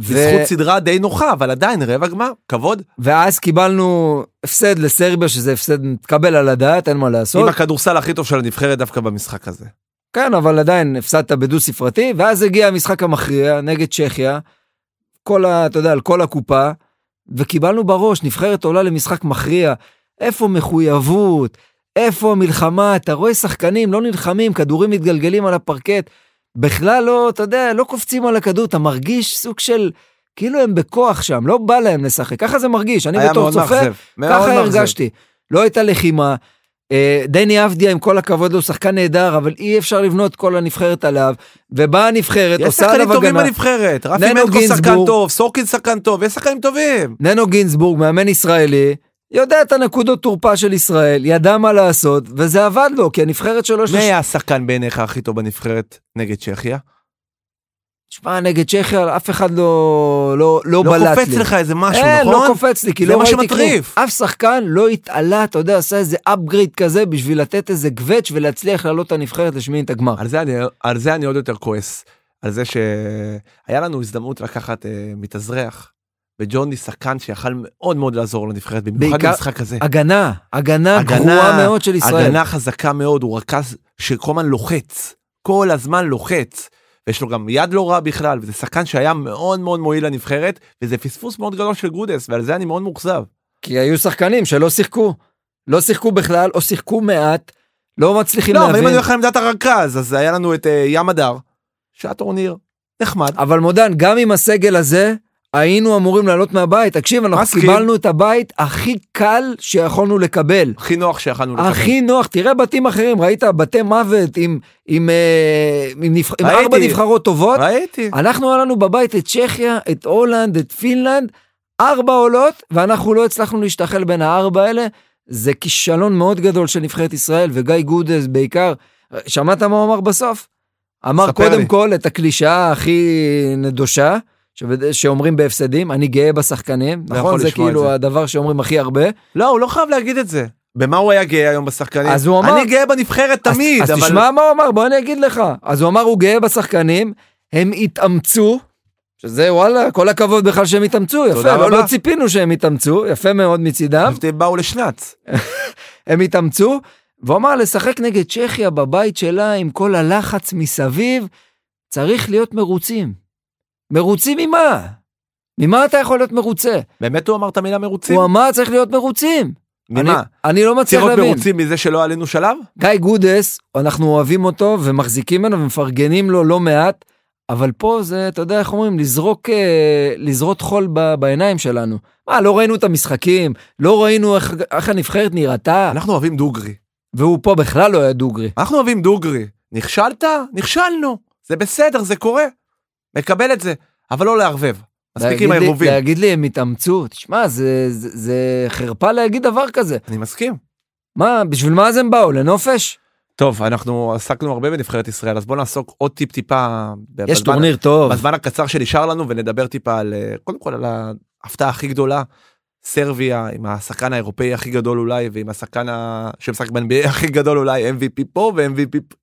B: ו...
A: בזכות סדרה די נוחה, אבל עדיין רבע גמר, כבוד.
B: ואז קיבלנו הפסד לסרביה, שזה הפסד מתקבל על הדעת, אין מה לעשות.
A: עם הכדורסל הכי טוב של הנבחרת דווקא במשחק הזה.
B: כן, אבל עדיין הפסדת בדו ספרתי, ואז הגיע המשחק המכריע נגד צ'כיה, כל ה... אתה יודע, על כל הקופה, וקיבלנו בראש, נבחרת עולה למשחק מכריע, איפה מחויבות, איפה המלחמה, אתה רואה שחקנים לא נלחמים, כדורים מתגלגלים על הפרקט, בכלל לא, אתה יודע, לא קופצים על הכדור, אתה מרגיש סוג של, כאילו הם בכוח שם, לא בא להם לשחק, ככה זה מרגיש, אני
A: היה
B: בתור
A: מאוד
B: צופה,
A: מאכזב. מאוד
B: ככה
A: מאכזב.
B: הרגשתי. לא הייתה לחימה. אה, דני אבדיה, עם כל הכבוד לו, הוא שחקן נהדר, אבל אי אפשר לבנות כל הנבחרת עליו. ובאה הנבחרת,
A: יש
B: עושה
A: שחקנים
B: עליו
A: טובים
B: הגנה.
A: בנבחרת, רפי
B: ננו
A: מנקו שחקן
B: גינזבורג.
A: טוב, סורקין שחקן טוב, יש שחקנים טובים.
B: ננו גינזבורג, מאמן ישראלי, יודע את הנקודות תורפה של ישראל, ידע מה לעשות, וזה עבד לו, כי הנבחרת שלו... יש
A: מי
B: לה-
A: היה השחקן בעיניך הכי טוב בנבחרת נגד צ'כיה?
B: שמע, נגד צ'כיה, אף אחד לא, לא, לא,
A: לא
B: בלט לי.
A: קופץ לך איזה משהו,
B: אין, לא
A: נכון?
B: קופץ לי, כי
A: זה
B: לא
A: מה
B: ראיתי
A: שמטריף.
B: כלום. אף שחקן לא התעלה, אתה יודע, עשה איזה upgrade כזה בשביל לתת איזה גווץ' ולהצליח לעלות את הנבחרת לשמינית הגמר.
A: על זה אני- על זה אני עוד יותר כועס. על זה שהיה לנו הזדמנות לקחת אה, מתאזרח, וג'וני שחקן שיכל מאוד מאוד לעזור לנבחרת, במיוחד
B: בעיקר-
A: במשחק הזה.
B: הגנה, הגנה גרועה מאוד של ישראל.
A: הגנה חזקה מאוד, הוא רכז שכל הזמן לוחץ, כל הזמן לוחץ. ויש לו גם יד לא רע בכלל, וזה שחקן שהיה מאוד מאוד מועיל לנבחרת, וזה פספוס מאוד גדול של גודס, ועל זה אני מאוד מאוכזב.
B: כי היו שחקנים שלא שיחקו. לא שיחקו בכלל, או שיחקו מעט, לא מצליחים
A: לא, אבל
B: להבין.
A: אם אני הולך על עמדת הרכז, אז היה לנו את אה, ים הדר, שהיה טורניר נחמד.
B: אבל מודן, גם עם הסגל הזה, היינו אמורים לעלות מהבית. תקשיב, אנחנו
A: מסכים.
B: קיבלנו את הבית הכי קל שיכולנו לקבל.
A: הכי נוח שיכלנו לקבל.
B: הכי נוח, תראה בתים אחרים, ראית בתי מוות עם, עם, אה, עם, נבח... עם
A: ראיתי.
B: ארבע נבחרות טובות?
A: ראיתי.
B: אנחנו היה לנו בבית את צ'כיה, את הולנד, את פינלנד, ארבע עולות, ואנחנו לא הצלחנו להשתחל בין הארבע האלה. זה כישלון מאוד גדול של נבחרת ישראל, וגיא גודס בעיקר, שמעת מה הוא אמר בסוף? אמר
A: ספר
B: קודם
A: לי.
B: כל את הקלישאה הכי נדושה, שבד- שאומרים בהפסדים, אני גאה בשחקנים,
A: לא
B: נכון?
A: יכול
B: זה
A: לשמוע את
B: כאילו
A: זה.
B: הדבר שאומרים הכי הרבה.
A: לא, הוא לא חייב להגיד את זה. במה הוא היה גאה היום בשחקנים?
B: אז הוא אמר-
A: אני גאה בנבחרת תמיד,
B: אז,
A: אבל...
B: אז תשמע מה הוא אמר, בוא אני אגיד לך. אז הוא אמר, הוא גאה בשחקנים, הם התאמצו, שזה וואלה, כל הכבוד בכלל שהם התאמצו, יפה,
A: תודה
B: לא,
A: רבה.
B: לא ציפינו שהם התאמצו, יפה מאוד מצידם,
A: אז הם באו לשנץ.
B: הם התאמצו, והוא אמר, לשחק נגד צ'כיה בבית שלה עם כל הלחץ מסביב, צריך להיות מרוצים. מרוצים ממה? ממה אתה יכול להיות מרוצה?
A: באמת הוא אמר את המילה מרוצים?
B: הוא אמר, צריך להיות מרוצים.
A: ממה?
B: אני, אני לא מצליח
A: צריך להיות
B: להבין.
A: מרוצים מזה שלא עלינו שלב?
B: גיא גודס, אנחנו אוהבים אותו ומחזיקים ממנו ומפרגנים לו לא מעט, אבל פה זה, אתה יודע איך אומרים, לזרוק, אה, לזרות חול ב, בעיניים שלנו. מה, לא ראינו את המשחקים, לא ראינו איך, איך הנבחרת נראתה,
A: אנחנו אוהבים דוגרי.
B: והוא פה בכלל לא היה דוגרי.
A: אנחנו אוהבים דוגרי. נכשלת? נכשלנו. זה בסדר, זה קורה. מקבל את זה, אבל לא לערבב. מספיק עם
B: להגיד לי-
A: הערבובים.
B: להגיד לי, הם התאמצו, תשמע, זה, זה, זה חרפה להגיד דבר כזה.
A: אני מסכים.
B: מה, בשביל מה אז הם באו? לנופש?
A: טוב, אנחנו עסקנו הרבה בנבחרת ישראל, אז בואו נעסוק עוד טיפ-טיפה.
B: יש
A: בזמן-
B: טורניר טוב.
A: בזמן הקצר שנשאר לנו ונדבר טיפה על אה, קודם כל על ההפתעה הכי גדולה. סרביה עם השחקן האירופאי הכי גדול אולי ועם השחקן ה... שמשחק ב-NBA הכי גדול אולי MVP פה ו-MVP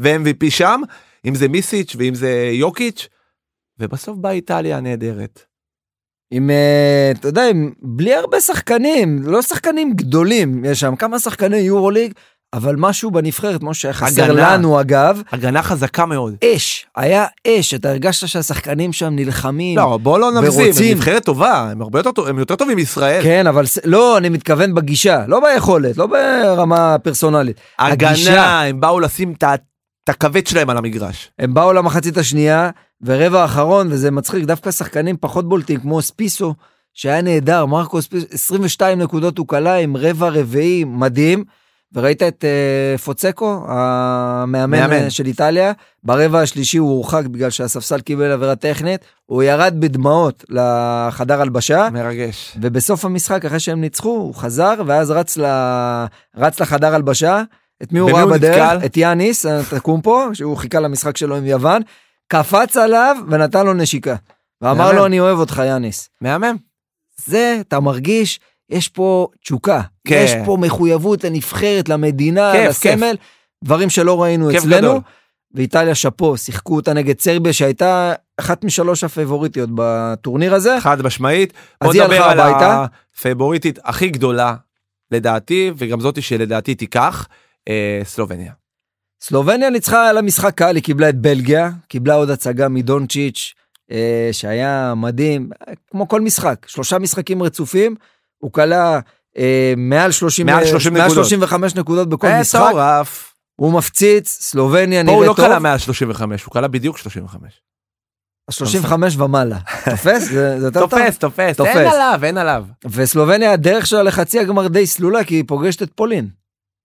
A: ו-MVP שם אם זה מיסיץ' ואם זה יוקיץ' ובסוף באה איטליה הנהדרת.
B: עם, אה, אתה יודע, עם, בלי הרבה שחקנים, לא שחקנים גדולים, יש שם כמה שחקני יורוליג, אבל משהו בנבחרת, מה שהיה חסר
A: הגנה.
B: לנו אגב,
A: הגנה חזקה מאוד.
B: אש, היה אש, אתה הרגשת שהשחקנים שם נלחמים.
A: לא בוא לא נגזים
B: ורוצים.
A: הם נבחרת טובה הם הרבה יותר טוב- הם יותר טובים מישראל.
B: כן, אבל ס- לא, אני מתכוון בגישה, לא ביכולת, לא ברמה פרסונלית. הגישה.
A: הגנה הם באו לשים את ה- את הכבד שלהם על המגרש.
B: הם באו למחצית השנייה, ורבע האחרון, וזה מצחיק, דווקא שחקנים פחות בולטים, כמו ספיסו, שהיה נהדר, מרקוס פיוס, 22 נקודות הוא כלה עם רבע רביעי מדהים. וראית את אה, פוצקו, המאמן
A: מאמן.
B: מאמן. של איטליה, ברבע השלישי הוא הורחק בגלל שהספסל קיבל עבירה טכנית, הוא ירד בדמעות לחדר הלבשה,
A: מרגש.
B: ובסוף המשחק, אחרי שהם ניצחו, הוא חזר, ואז רץ, ל... רץ לחדר הלבשה. את מי הוא
A: במי
B: ראה
A: הוא
B: בדרך?
A: נתקל?
B: את יאניס, תקומפו, שהוא חיכה למשחק שלו עם יוון, קפץ עליו ונתן לו נשיקה. ואמר
A: מהמם.
B: לו, אני אוהב אותך, יאניס.
A: מהמם.
B: זה, אתה מרגיש, יש פה תשוקה.
A: כן.
B: יש פה מחויבות לנבחרת, למדינה,
A: כיף,
B: לסמל. דברים שלא ראינו
A: כיף
B: אצלנו.
A: גדול.
B: ואיטליה שאפו, שיחקו אותה נגד סרביה, שהייתה אחת משלוש הפייבוריטיות בטורניר הזה.
A: חד משמעית.
B: אז
A: בוא
B: היא
A: נדבר
B: הלכה
A: על
B: הביתה.
A: הפייבוריטית הכי גדולה לדעתי וגם זאתי שלדעתי תיקח אה, סלובניה.
B: סלובניה ניצחה על המשחק קל, היא קיבלה את בלגיה, קיבלה עוד הצגה מדונצ'יץ', אה, שהיה מדהים, אה, כמו כל משחק, שלושה משחקים רצופים, הוא כלה אה, מעל 30,
A: מעל 30
B: מעל
A: נקודות.
B: 35 נקודות בכל
A: אה,
B: משחק,
A: מטורף.
B: הוא מפציץ, סלובניה
A: פה
B: נראית
A: הוא לא
B: טוב,
A: קלע מעל 35 הוא קלע בדיוק 35.
B: אז 35 ומעלה, תופס? זה, זה יותר טוב?
A: תופס תופס
B: תופס.
A: אין עליו אין עליו.
B: וסלובניה הדרך שלה לחצי הגמר די סלולה כי היא פוגשת את פולין.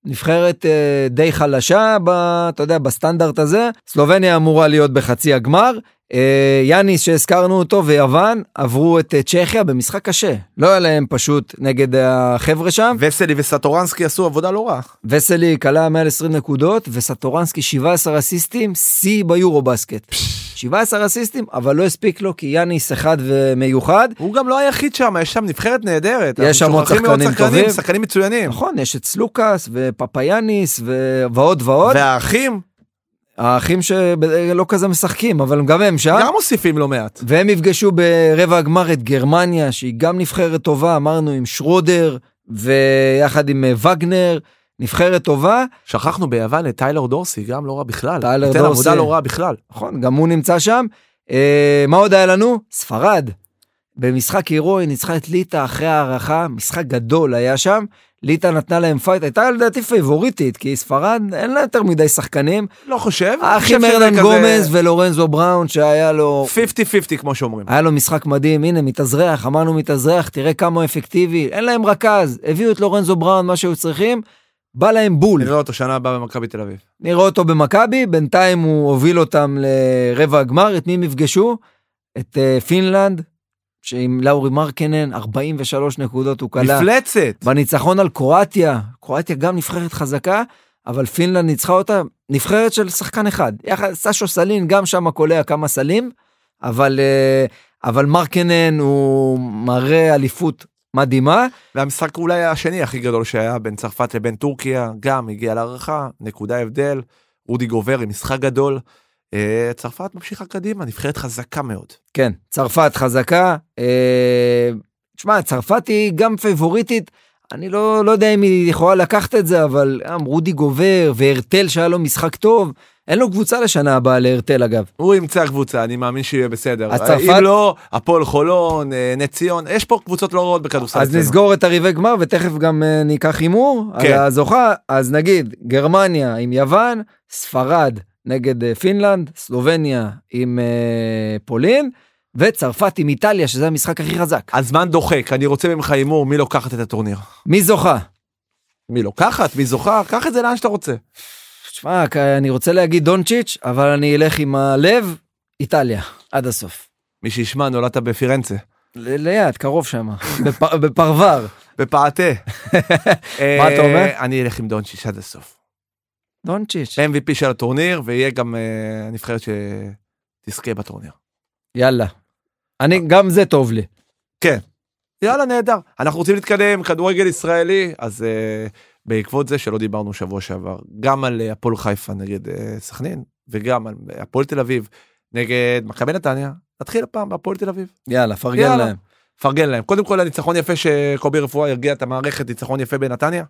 B: נבחרת אה, די חלשה, ב, אתה יודע, בסטנדרט הזה. סלובניה אמורה להיות בחצי הגמר. אה, יאניס שהזכרנו אותו ויוון עברו את אה, צ'כיה במשחק קשה. לא היה להם פשוט נגד החבר'ה שם.
A: וסלי וסטורנסקי עשו עבודה לא רעה.
B: וסלי כלה 120 נקודות וסטורנסקי 17 אסיסטים, שיא ביורו בסקט. 17 אסיסטים, אבל לא הספיק לו כי יאניס אחד ומיוחד.
A: הוא גם לא היחיד שם יש שם נבחרת נהדרת.
B: יש שם עוד
A: אנחנו שוכחים מעוד
B: שחקנים
A: שחקנים,
B: טובים.
A: שחקנים מצוינים.
B: נכון, יש את סלוקאס ופפאיאניס ו... ועוד ועוד.
A: והאחים
B: האחים שלא כזה משחקים, אבל גם הם שם.
A: גם מוסיפים לא מעט.
B: והם יפגשו ברבע הגמר את גרמניה, שהיא גם נבחרת טובה, אמרנו, עם שרודר, ויחד עם אה, וגנר, נבחרת טובה.
A: שכחנו ביוון את טיילר דורסי גם לא רע בכלל.
B: טיילר
A: נותן
B: דורסי.
A: עבודה לא רעה בכלל.
B: נכון, גם הוא נמצא שם. אה, מה עוד היה לנו? ספרד. במשחק הירואי ניצחה את ליטא אחרי הערכה, משחק גדול היה שם. ליטא נתנה להם פייט, הייתה לדעתי פייבוריטית, כי ספרד אין לה יותר מדי שחקנים.
A: לא חושב. אני חושב
B: האחים
A: שזה
B: ארלן
A: כזה
B: גומז ולורנזו בראון שהיה לו
A: 50-50 כמו שאומרים.
B: היה לו משחק מדהים הנה מתאזרח אמרנו מתאזרח תראה כמה הוא אפקטיבי אין להם רכז הביאו את לורנזו בראון מה שהיו צריכים בא להם בול
A: נראה אותו שנה הבאה במכבי תל אביב.
B: נראה אותו במכבי בינתיים הוא הוביל אותם לרבע הגמר את מי הם יפגשו את אה, פינלנד שעם לאורי מרקנן 43 נקודות הוא כלה
A: מפלצת.
B: בניצחון על קרואטיה, קרואטיה גם נבחרת חזקה, אבל פינלנד ניצחה אותה, נבחרת של שחקן אחד. יחד, סשו סלין גם שם קולע כמה סלים, אבל, אה, אבל מרקנן הוא מראה אליפות מדהימה.
A: והמשחק אולי השני הכי גדול שהיה בין צרפת לבין טורקיה גם הגיע להערכה נקודה הבדל. רודי גובר עם משחק גדול. אה, צרפת ממשיכה קדימה נבחרת חזקה מאוד.
B: כן, צרפת חזקה. אה, תשמע, צרפת היא גם פייבוריטית. אני לא, לא יודע אם היא יכולה לקחת את זה, אבל גם רודי גובר והרטל שהיה לו משחק טוב. אין לו קבוצה לשנה הבאה להרטל אגב.
A: הוא ימצא קבוצה אני מאמין שיהיה בסדר.
B: אז
A: אה,
B: צרפת-
A: אם לא הפועל חולון אה, נס ציון יש פה קבוצות לא רעות בכדורסל.
B: אז
A: אצלנו.
B: נסגור את הרבעי גמר ותכף גם אה, ניקח הימור על
A: כן.
B: הזוכה אז נגיד גרמניה עם יוון ספרד נגד אה, פינלנד סלובניה עם אה, פולין וצרפת עם איטליה שזה המשחק הכי חזק
A: הזמן דוחק אני רוצה ממך הימור מי לוקחת את הטורניר.
B: מי זוכה.
A: מי לוקחת מי זוכה קח את זה לאן שאתה רוצה.
B: שמע כ- אני רוצה להגיד דונצ'יץ' אבל אני אלך עם הלב איטליה עד הסוף.
A: מי שישמע נולדת בפירנצה.
B: ל- ליד קרוב שם בפ- בפרבר
A: בפאתי.
B: מה אתה אומר?
A: אה, אני אלך עם דונצ'יץ' עד הסוף.
B: דונצ'יץ'
A: MVP של הטורניר ויהיה גם אה, הנבחרת שתזכה בטורניר.
B: יאללה. אני גם זה טוב לי.
A: יאללה נהדר אנחנו רוצים להתקדם כדורגל ישראלי אז אה, בעקבות זה שלא דיברנו שבוע שעבר גם על אה, הפועל חיפה נגד אה, סכנין וגם על אה, הפועל תל אביב נגד מכבי נתניה נתחיל הפעם בהפועל תל אביב.
B: יאללה פרגן
A: יאללה.
B: להם.
A: פרגן להם קודם כל הניצחון יפה שקובי רפואה הרגיע את המערכת ניצחון יפה בנתניה.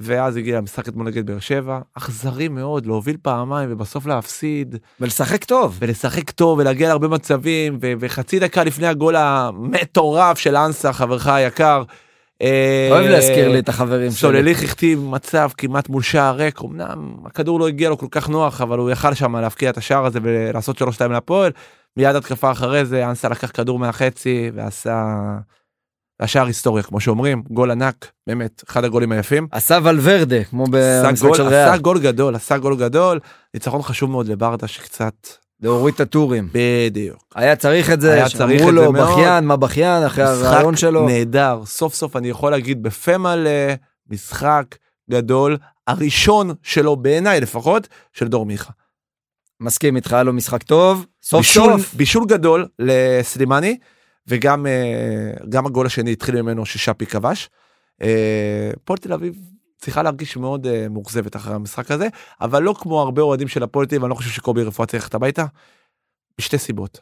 A: ואז הגיע המשחק אתמול נגד באר שבע אכזרי מאוד להוביל פעמיים ובסוף להפסיד
B: ולשחק טוב.
A: ולשחק טוב ולהגיע להרבה מצבים ו- וחצי דקה לפני הגול המטורף של אנסה חברך היקר. אה,
B: אוהב להזכיר לי את החברים שלי.
A: סולליך הכתיב מצב כמעט מול שער ריק אמנם הכדור לא הגיע לו כל כך נוח אבל הוא יכל שם להפקיע את השער הזה ולעשות 3-2 להפועל. מיד התקפה אחרי זה אנסה לקח כדור מהחצי ועשה השאר היסטוריה, כמו שאומרים, גול ענק, באמת, אחד הגולים היפים.
B: עשה ולוורדה, כמו
A: עשה
B: במשחק
A: גול,
B: של ריאל,
A: עשה גול גדול, עשה גול גדול, ניצחון חשוב מאוד לברדה שקצת...
B: להוריד את הטורים.
A: בדיוק.
B: היה צריך את זה,
A: היה צריך
B: שאמרו
A: את
B: לו
A: זה מאוד.
B: בכיין, מה בכיין, אחרי
A: משחק
B: הרעיון שלו.
A: נהדר, סוף סוף אני יכול להגיד בפה מלא, משחק גדול, הראשון שלו בעיניי לפחות, של דור מיכה.
B: מסכים איתך, היה לו משחק טוב, סוף
A: בישול,
B: סוף.
A: בישול גדול לסלימני, וגם אה, גם הגול השני התחיל ממנו ששאפי כבש. אה, הפועל תל אביב צריכה להרגיש מאוד אה, מאוכזבת אחרי המשחק הזה, אבל לא כמו הרבה אוהדים של הפועל תל אביב, אני לא חושב שקובי רפואה צריך ללכת הביתה, בשתי סיבות.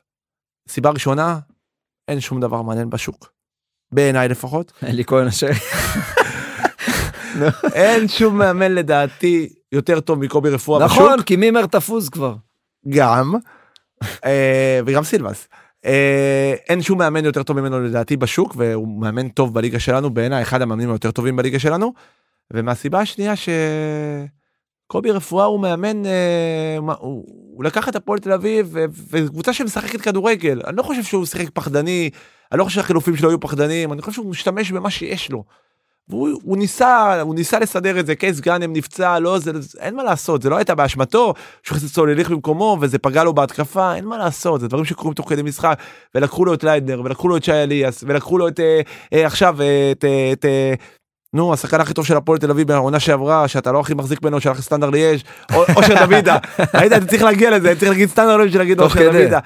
A: סיבה ראשונה, אין שום דבר מעניין בשוק. בעיניי לפחות.
B: אלי כהן אשר.
A: אין שום מאמן לדעתי יותר טוב מקובי רפואה
B: נכון,
A: בשוק.
B: כי מימר תפוס כבר.
A: גם. אה, וגם סילבס. אה, אין שום מאמן יותר טוב ממנו לדעתי בשוק והוא מאמן טוב בליגה שלנו בעיניי אחד המאמנים היותר טובים בליגה שלנו. ומהסיבה השנייה שקובי רפואה הוא מאמן אה, מה- הוא, הוא לקח את הפועל תל אביב ו- וזו קבוצה שמשחקת כדורגל אני לא חושב שהוא שיחק פחדני אני לא חושב שהחילופים שלו היו פחדנים אני חושב שהוא משתמש במה שיש לו. והוא הוא ניסה הוא ניסה לסדר את זה קייס גאנם נפצע לא זה זה- אין מה לעשות זה לא הייתה באשמתו שהוא הכניס סולליך במקומו וזה פגע לו בהתקפה אין מה לעשות זה דברים שקורים תוך כדי משחק ולקחו לו את ליידנר ולקחו לו את שי אליאס ולקחו לו את אה, אה, עכשיו אה, את, אה, את אה, נו השחקן הכי טוב של הפועל תל אביב בעונה שעברה שאתה לא הכי מחזיק ממנו שהלך לסטנדר ליאש או- אושר דוידה היית היית צריך להגיע לזה היית צריך להגיד סטנדר ליאש להגיד
B: תוך
A: אושר
B: כדי.
A: דוידה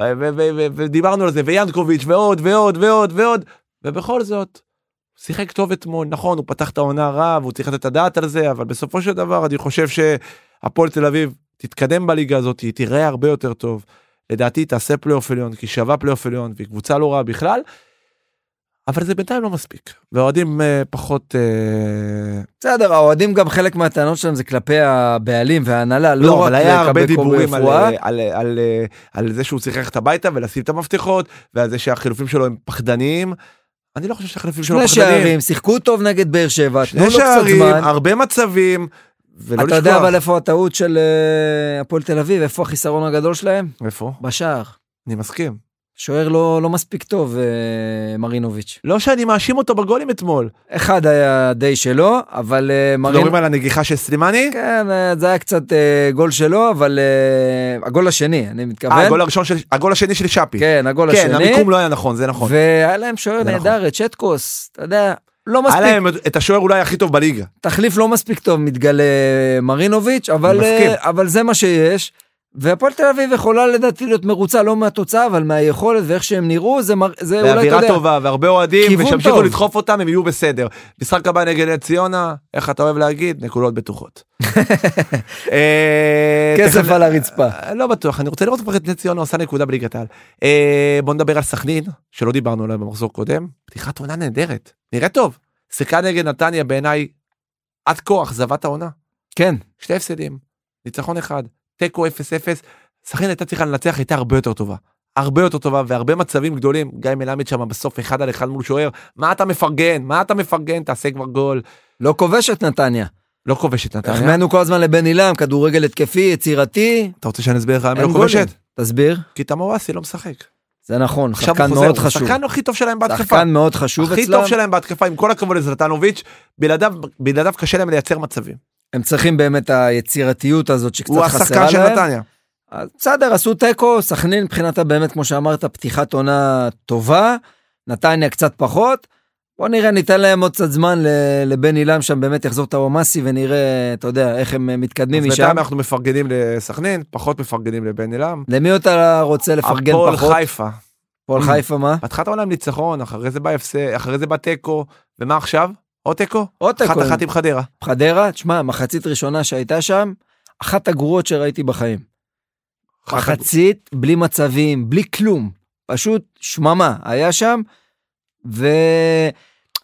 A: ו- ו- ו- ו- ודיברנו על זה ויאנקוביץ' ועוד ועוד ועוד ועוד ובכל זאת. שיחק טוב אתמול נכון הוא פתח את העונה רע והוא צריך לתת את הדעת על זה אבל בסופו של דבר אני חושב שהפועל תל אביב תתקדם בליגה הזאת היא תיראה הרבה יותר טוב. לדעתי תעשה פלייאוף עליון כי שווה פלייאוף עליון והיא קבוצה לא רעה בכלל. אבל זה בינתיים לא מספיק והאוהדים אה, פחות אה,
B: בסדר, האוהדים גם חלק מהטענות שלהם זה כלפי הבעלים וההנהלה, לא
A: לא,
B: רק
A: אבל היה הרבה
B: לגבי קובי
A: דיבורים על, אה,
B: רפואה.
A: על, על, אה, על זה שהוא צריך ללכת הביתה ולשים את המפתחות ועל זה שהחילופים שלו הם פחדניים. אני לא חושב שהחילופים שלו
B: שני
A: פחדניים.
B: שערים, שיחקו טוב נגד באר שבע, תנו לו
A: שני
B: קצת
A: שערים,
B: זמן.
A: הרבה מצבים. ולא
B: אתה יודע
A: לשכוח.
B: אבל איפה הטעות של אה, הפועל תל אביב, איפה החיסרון הגדול שלהם?
A: איפה?
B: בשער.
A: אני מסכים.
B: שוער לא, לא מספיק טוב, אה, מרינוביץ'.
A: לא שאני מאשים אותו בגולים אתמול.
B: אחד היה די שלו, אבל אה, מרינ...
A: מדברים על הנגיחה של סלימני?
B: כן, אה, זה היה קצת אה, גול שלו, אבל אה, הגול השני, אני מתכוון.
A: אה, הגול הראשון של... הגול השני של שפי.
B: כן, הגול
A: כן,
B: השני.
A: המיקום לא היה נכון, זה נכון.
B: והיה להם שוער
A: זה נכון.
B: נהדר, את צ'טקוס, אתה יודע, לא
A: היה
B: מספיק,
A: להם את השוער אולי הכי טוב בליגה.
B: תחליף לא מספיק טוב מתגלה מרינוביץ', אבל,
A: אני מסכים.
B: אה, אבל זה מה שיש. והפועל תל אביב יכולה לדעתי להיות מרוצה לא מהתוצאה, אבל מהיכולת ואיך שהם נראו, זה, מר... זה אולי, אתה יודע,
A: באווירה טובה והרבה אוהדים
B: כיוון
A: ושימשיכו
B: טוב.
A: לדחוף אותם הם יהיו בסדר. משחק הבא נגד נס ציונה איך אתה אוהב להגיד נקודות בטוחות. אה,
B: כסף
A: תכף-
B: על הרצפה.
A: אה, לא בטוח אני רוצה לראות כבר את נס ציונה עושה נקודה בליגת העל. אה, בוא נדבר על סכנין שלא דיברנו עליה במחזור קודם פתיחת עונה נהדרת נראה טוב. שיחקה נגד נתניה בעיניי עד כה אכזבת העונה
B: כן,
A: שתי הפסדים ניצחון אחד תיקו 0-0 סכנין הייתה צריכה לנצח הייתה הרבה יותר טובה. הרבה יותר טובה והרבה מצבים גדולים גיא מלמד שם בסוף אחד על אחד מול שוער מה אתה מפרגן מה אתה מפרגן תעשה כבר גול
B: לא כובשת נתניה.
A: לא כובשת נתניה
B: החמאנו כל הזמן לבן אילם, כדורגל התקפי, יצירתי.
A: אתה רוצה שאני אסביר לך למה
B: אין
A: לא
B: גולים.
A: כובשת
B: תסביר.
A: כי תמוואסי לא משחק
B: זה נכון,
A: עכשיו
B: שחקן
A: הוא חוזר
B: מאוד
A: הוא
B: חשוב.
A: השחקן הכי טוב שלהם בהתקפה
B: שחקן מאוד חשוב
A: הכי טוב
B: אצלם.
A: שלהם בהתקפה עם כל הכבוד לזלטנוביץ' בלעדיו בלעדיו קשה להם לייצר מצבים
B: הם צריכים באמת היצירתיות הזאת שקצת
A: הוא
B: חסרה
A: השחקן של
B: להם.
A: נתניה
B: אז בסדר, עשו תיקו, סכנין מבחינתה באמת, כמו שאמרת, פתיחת עונה טובה, נתניה קצת פחות. בוא נראה, ניתן להם עוד קצת זמן ל- לבן אילם שם, באמת יחזור טוואמאסי ונראה, אתה יודע, איך הם אה, מתקדמים
A: אז
B: משם.
A: בינתיים אנחנו מפרגנים לסכנין פחות מפרגנים לבן אילם.
B: למי אתה רוצה לפרגן
A: הפועל
B: פחות?
A: חיפה
B: הפועל חיפה, מה?
A: פתחה את העולם עם ניצחון, אחרי זה בא הפסד, אחרי זה בא תיקו, ומה עכשיו? עוד תיקו?
B: עוד
A: אחת
B: תיקו.
A: אחת עם חדרה.
B: חדרה, תשמע, מחצית ראשונה שהייתה שם, אחת הגרועות שראיתי בחיים. מחצית, בלי מצבים, בלי כלום. פשוט שממה היה שם,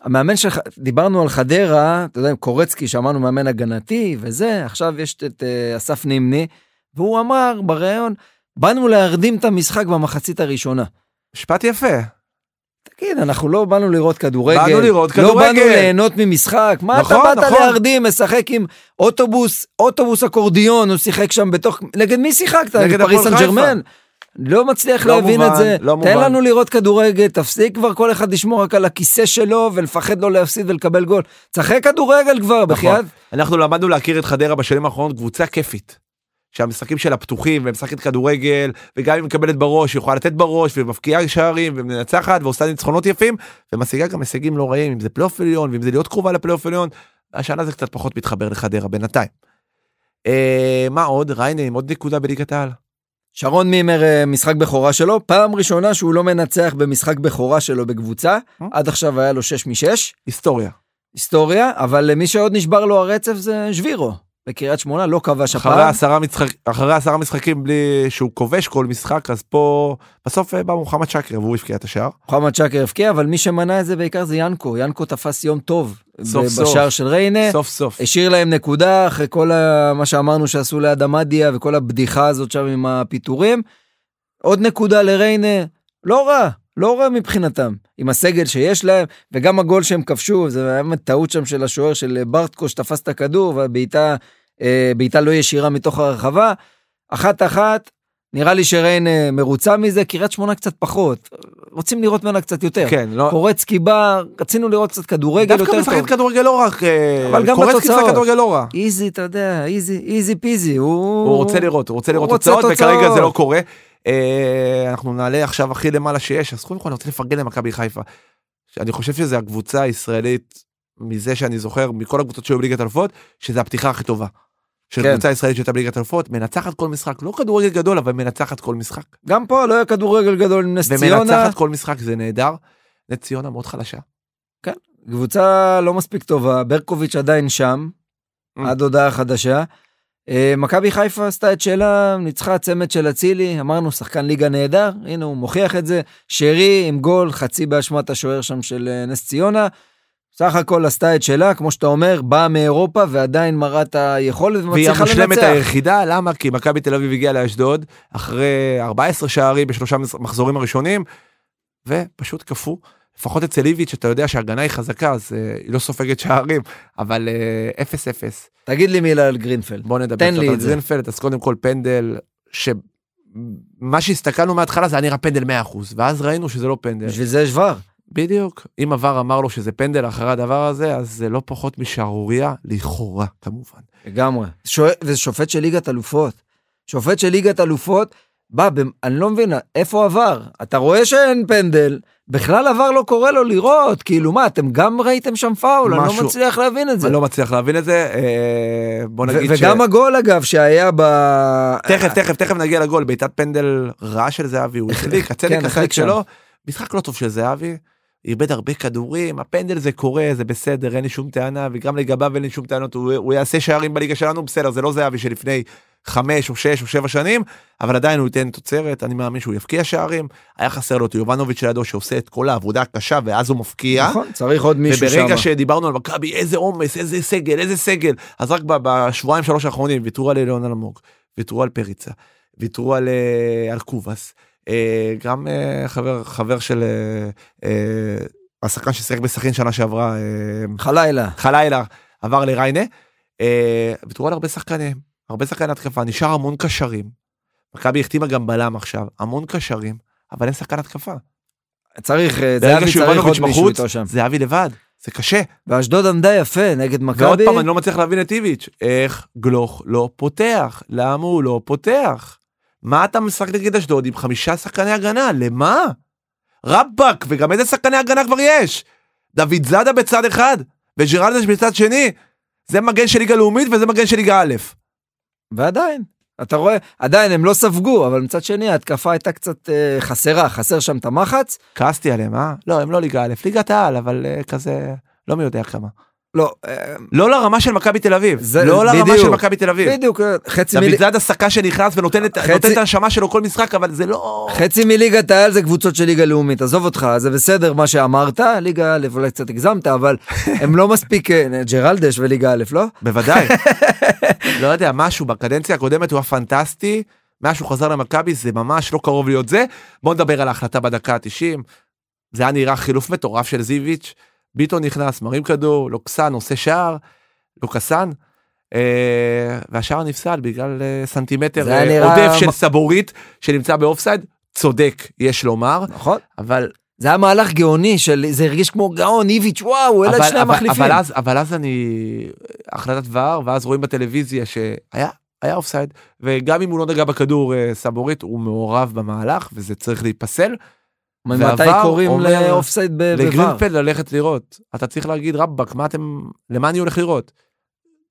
B: והמאמן של... ח- דיברנו על חדרה, אתה יודע, עם קורצקי, שאמרנו מאמן הגנתי וזה, עכשיו יש את אה, אסף נימני, והוא אמר בריאיון, באנו להרדים את המשחק במחצית הראשונה.
A: משפט יפה.
B: תגיד, אנחנו לא באנו לראות כדורגל.
A: באנו לראות
B: לא
A: כדורגל.
B: באנו ליהנות ממשחק. מה
A: נכון,
B: אתה באת
A: נכון.
B: להרדים, משחק עם אוטובוס, אוטובוס אקורדיון, הוא שיחק שם בתוך... נגד מי שיחקת?
A: נגד
B: נגד פריס
A: הפועל
B: סן
A: חיפה.
B: ג'רמן? לא מצליח
A: לא
B: להבין
A: מובן,
B: את זה.
A: לא
B: תן
A: מובן.
B: לנו לראות כדורגל, תפסיק כבר כל אחד לשמור רק על הכיסא שלו ולפחד לא להפסיד ולקבל גול. תשחק כדורגל
A: נכון.
B: כבר, בחייאת.
A: אנחנו למדנו להכיר את חדרה בשנים האחרונות קבוצה כיפית. שהמשחקים שלה פתוחים ומשחקת כדורגל וגם אם מקבלת בראש היא יכולה לתת בראש ומבקיעה שערים ומנצחת ועושה ניצחונות יפים ומשיגה גם הישגים לא רעים אם זה פלייאוף עליון ואם זה להיות קרובה לפלייאוף עליון. השנה זה קצת פחות מתחבר לחדרה בינתיים. אה, מה עוד ריינה עם עוד נקודה בליגת העל.
B: שרון מימר אה, משחק בכורה שלו, פעם ראשונה שהוא לא מנצח במשחק בכורה שלו בקבוצה,
A: אה?
B: עד עכשיו היה לו 6 מ-6,
A: היסטוריה.
B: היסטוריה, אבל למי שעוד נשבר לו הרצף זה שבירו, בקריית שמונה לא כבש
A: אחרי
B: הפעם,
A: עשרה, משחק, אחרי עשרה משחקים בלי שהוא כובש כל משחק אז פה בסוף אה, בא מוחמד שקר והוא הבקיע את השער.
B: מוחמד שקר הבקיע, אבל מי שמנע את זה בעיקר זה ינקו, ינקו תפס יום טוב,
A: סוף
B: ב-
A: סוף.
B: בשער של ריינה,
A: סוף סוף.
B: השאיר להם נקודה אחרי כל ה... מה שאמרנו שעשו ליד עמדיה וכל הבדיחה הזאת שם עם הפיטורים. עוד נקודה לריינה, לא רע, לא רע מבחינתם, עם הסגל שיש להם, וגם הגול שהם כבשו, זה היה באמת טעות שם של השוער של ברטקו שתפס את הכדור, והבעיטה אה, בעיטה לא ישירה מתוך הרחבה. אחת אחת, נראה לי שריינה מרוצה מזה, קריית שמונה קצת פחות, רוצים לראות ממנה קצת יותר.
A: כן, לא,
B: קורצקי בא, רצינו לראות קצת כדורגל יותר טוב.
A: דווקא משחקת כדורגל לא רע, אה,
B: אבל גם
A: קורצקי
B: בתוצאות.
A: משחק כדורגל לא רע.
B: איזי, אתה יודע, איזי, איזי פיזי, הוא...
A: הוא רוצה לראות, הוא רוצה לראות
B: רוצה
A: תוצאות, וכרגע
B: תוצאות.
A: זה לא קורה. אה, אנחנו נעלה עכשיו הכי למעלה שיש, אז קודם כל אני רוצה לפרגן למכבי חיפה. אני חושב שזו הקבוצה הישראלית, מזה שאני זוכר, מכל הקבוצות שהיו בליגת אלופות, שזו הפתיחה הכי טובה. של
B: כן.
A: קבוצה ישראלית שהייתה בליגת אלופות, מנצחת כל משחק, לא כדורגל גדול, אבל מנצחת כל משחק.
B: גם פה לא היה כדורגל גדול עם נס ציונה,
A: ומנצחת כל משחק, זה נהדר. נס ציונה מאוד חלשה.
B: קבוצה לא מספיק טובה, ברקוביץ' עדיין שם,
A: Mm.
B: עד הודעה חדשה. אה, מכבי חיפה עשתה את שלה, ניצחה צמד של אצילי, אמרנו שחקן ליגה נהדר, הנה הוא מוכיח את זה, שרי עם גול, חצי באשמת השוער שם של אה, נס ציונה. סך הכל עשתה את שלה, כמו שאתה אומר, באה מאירופה ועדיין מראה את היכולת
A: והיא
B: ומצליחה
A: המושלמת
B: לנצח.
A: היחידה, למה? כי מכבי תל אביב הגיעה לאשדוד אחרי 14 שערים בשלושה מס- מחזורים הראשונים, ופשוט קפאו. לפחות אצל איביץ', אתה יודע שההגנה היא חזקה, אז אה, היא לא סופגת שערים, אבל אה, 0-0.
B: תגיד לי מילה על גרינפלד.
A: בוא נדבר
B: תן
A: קצת
B: לי
A: על
B: את זה.
A: גרינפלד, אז קודם כל פנדל, שמה שהסתכלנו מההתחלה זה היה נראה פנדל 100%, ואז ראינו שזה לא פנדל.
B: בשביל זה יש ור.
A: בדיוק. אם עבר אמר לו שזה פנדל אחרי הדבר הזה, אז זה לא פחות משערורייה, לכאורה, כמובן.
B: לגמרי. שוע... וזה שופט של ליגת אלופות. שופט של ליגת אלופות, בא, ב... אני לא מבין, איפה עבר? אתה רואה שאין פנדל, בכלל עבר לא קורא לו לראות, כאילו מה, אתם גם ראיתם שם פאול, אני
A: משהו.
B: לא מצליח להבין את זה.
A: אני לא מצליח להבין את זה, אה, בוא נגיד
B: ו- וגם הגול אגב שהיה ב...
A: תכף תכף תכף נגיע לגול בעיטת פנדל רע של זהבי הוא החליק הצדק
B: כן,
A: החלק
B: החליק שם.
A: שלו משחק לא טוב של זהבי. איבד הרבה כדורים הפנדל זה קורה זה בסדר אין לי שום טענה וגם לגביו אין לי שום טענות הוא, הוא יעשה שערים בליגה שלנו בסדר זה לא זהבי שלפני חמש או שש או שבע שנים אבל עדיין הוא ייתן תוצרת אני מאמין שהוא יבקיע שערים היה חסר לו את יובנוביץ' לידו שעושה את כל העבודה הקשה ואז הוא מפקיע.
B: נכון, צריך עוד מישהו שם.
A: אה? וברגע שדיברנו על מכבי איזה עומס איזה סגל איזה סגל אז רק ב- בשבועיים שלוש האחרונים ויתרו על אליון אלמוג ויתרו על פריצה ויתרו על, אה, על קובאס אה, גם אה, חבר חבר של אה, אה, השחקן ששיחק בסכין שנה שעברה אה,
B: חלילה.
A: חלילה עבר לריינה אה, ויתרו על הרבה שחקנים הרבה שחקני התקפה נשאר המון קשרים. מכבי החתימה גם בלם עכשיו המון קשרים אבל אין שחקן התקפה
B: צריך, אה,
A: ברגע
B: זהבי צריך
A: שיובנוביץ'
B: עוד מישהו
A: בחוץ
B: איתו שם.
A: זהבי לבד זה קשה.
B: ואשדוד עמדה יפה נגד
A: ועוד
B: מכבי.
A: פעם אני לא מצליח להבין את איביץ', איך גלוך לא פותח? למה הוא לא פותח? מה אתה משחק נגד אשדוד עם חמישה שחקני הגנה? למה? רבאק, וגם איזה שחקני הגנה כבר יש? דוד זאדה בצד אחד, וג'רלדש בצד שני. זה מגן של ליגה לאומית וזה מגן של ליגה א'. לא-
B: ועדיין, אתה רואה, עדיין הם לא ספגו, אבל מצד שני ההתקפה הייתה קצת אה, חסרה, חסר שם את המחץ.
A: כעסתי עליהם, אה? לא, הם לא ליגה א', ליגת העל, אבל אה, כזה, לא מי יודע כמה.
B: לא, אה,
A: לא לרמה של מכבי תל אביב.
B: זה-
A: לא לרמה של
B: בדיוק.
A: מכבי תל אביב.
B: בדיוק, אה, חצי, מלי...
A: דוד זאדה שחקן שנכנס ונותן את
B: חצי-
A: נותן את הנשמה שלו כל משחק, אבל זה לא...
B: חצי מליגת העל זה קבוצות של ליגה לאומית, עזוב אותך, זה בסדר מה שאמרת, ליגה א' אולי קצת הגזמת, אבל הם לא מספיק, אה, ג'רלדש וליגה א', לא?
A: בוודאי. לא יודע, משהו בקדנציה הקודמת הוא היה פנטסטי, מאז שהוא חזר למכבי זה ממש לא קרוב להיות זה. בוא נדבר על ההחלטה בדקה ה-90. זה היה נראה חילוף מטורף של זיביץ', ביטון נכנס, מרים כדור, לוקסן עושה שער, לוקסן. אה, והשער נפסל בגלל אה, סנטימטר
B: זה היה
A: אה,
B: נראה-
A: עודף של סבורית שנמצא באופסייד, צודק יש לומר,
B: נכון?
A: אבל
B: זה היה מהלך גאוני של, זה הרגיש כמו גאון, איביץ', וואו, הוא העלה את שני
A: אבל,
B: המחליפים.
A: אבל, אז, אבל אז אני החלטת ור ואז רואים בטלוויזיה שהיה היה אופסייד וגם אם הוא לא נגע בכדור אה, סבורית הוא מעורב במהלך וזה צריך להיפסל.
B: אה, ממתי
A: והVAR
B: קוראים
A: אומר
B: לאופסייד ב- בVAR?
A: לגרינפלד ללכת לראות אתה צריך להגיד רבאק מה אתם למה אני הולך לראות.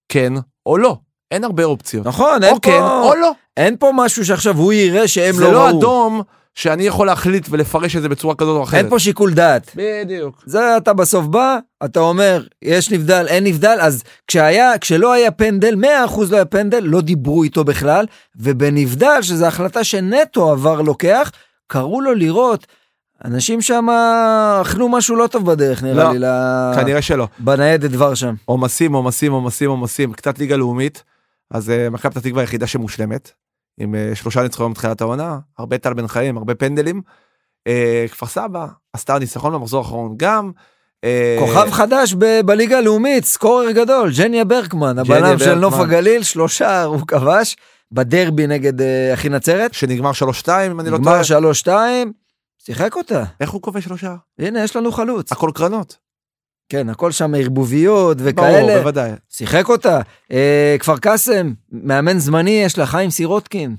A: כן או לא אין הרבה אופציות.
B: נכון, אין
A: או כן
B: פה-
A: או לא.
B: אין פה משהו שעכשיו הוא יראה שהם
A: זה
B: לא
A: לא
B: ראו.
A: אדום שאני יכול להחליט ולפרש את זה בצורה כזאת או אחרת.
B: אין פה שיקול דעת.
A: בדיוק.
B: זה אתה בסוף בא, אתה אומר, יש נבדל, אין נבדל, אז כשהיה, כשלא היה פנדל, 100% לא היה פנדל, לא דיברו איתו בכלל, ובנבדל, שזו החלטה שנטו עבר לוקח, קראו לו לראות, אנשים שם אכלו משהו לא טוב בדרך, נראה
A: לא,
B: לי, ל-
A: כנראה שלא.
B: בניידת דבר שם.
A: עומסים, עומסים, עומסים, עומסים, קצת ליגה לאומית. אז אה, מכבי פתח תקווה היחידה שמושלמת, עם אה, שלושה ניצחונות מתחילת העונה, הרבה טל בן חיים, הרבה פנדלים. אה, כפר סבא עשתה ניצחון במחזור האחרון גם. אה,
B: כוכב חדש ב- בליגה הלאומית, סקורר גדול, ג'ניה ברקמן, הבלם של
A: ברקמן.
B: נוף הגליל, שלושה הוא כבש, בדרבי נגד אה, אחי נצרת,
A: שנגמר 3-2 אם אני לא
B: נגמר
A: טועה.
B: 3-2, שיחק אותה.
A: איך הוא כובש שלושה?
B: הנה, יש לנו חלוץ.
A: הכל קרנות.
B: כן, הכל שם ערבוביות
A: ברור,
B: וכאלה.
A: בוודאי.
B: שיחק אותה. אה, כפר קאסם, מאמן זמני יש לה, חיים סירוטקין.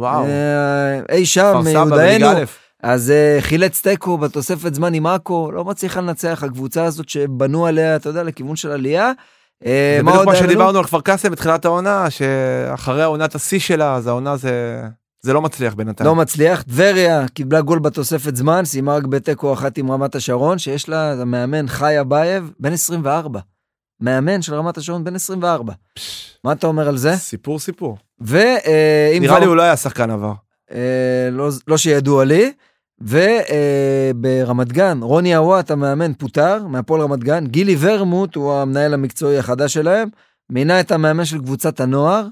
A: וואו.
B: אה, אי שם,
A: כפר סבא
B: יהודאנו.
A: בליגה א'.
B: אז אה, חילץ תיקו בתוספת זמן עם עכו, לא מצליחה לנצח, הקבוצה הזאת שבנו עליה, אתה יודע, לכיוון של עלייה. אה,
A: זה
B: מה
A: בדיוק
B: עוד
A: מה
B: היה לנו?
A: שדיברנו על כפר קאסם בתחילת העונה, שאחרי העונת השיא שלה, אז העונה זה... זה לא מצליח בינתיים.
B: לא מצליח. טבריה קיבלה גול בתוספת זמן, סיימה רק בתיקו אחת עם רמת השרון, שיש לה זה המאמן חי אבייב, בן 24. מאמן של רמת השרון, בן 24.
A: פש,
B: מה אתה אומר על זה?
A: סיפור סיפור.
B: ואם
A: נראה לי הוא לא היה שחקן עבר.
B: אה, לא, לא שידוע לי. וברמת אה, ברמת גן, רוני אוואט המאמן פוטר מהפועל רמת גן, גילי ורמוט הוא המנהל המקצועי החדש שלהם, מינה את המאמן של קבוצת הנוער.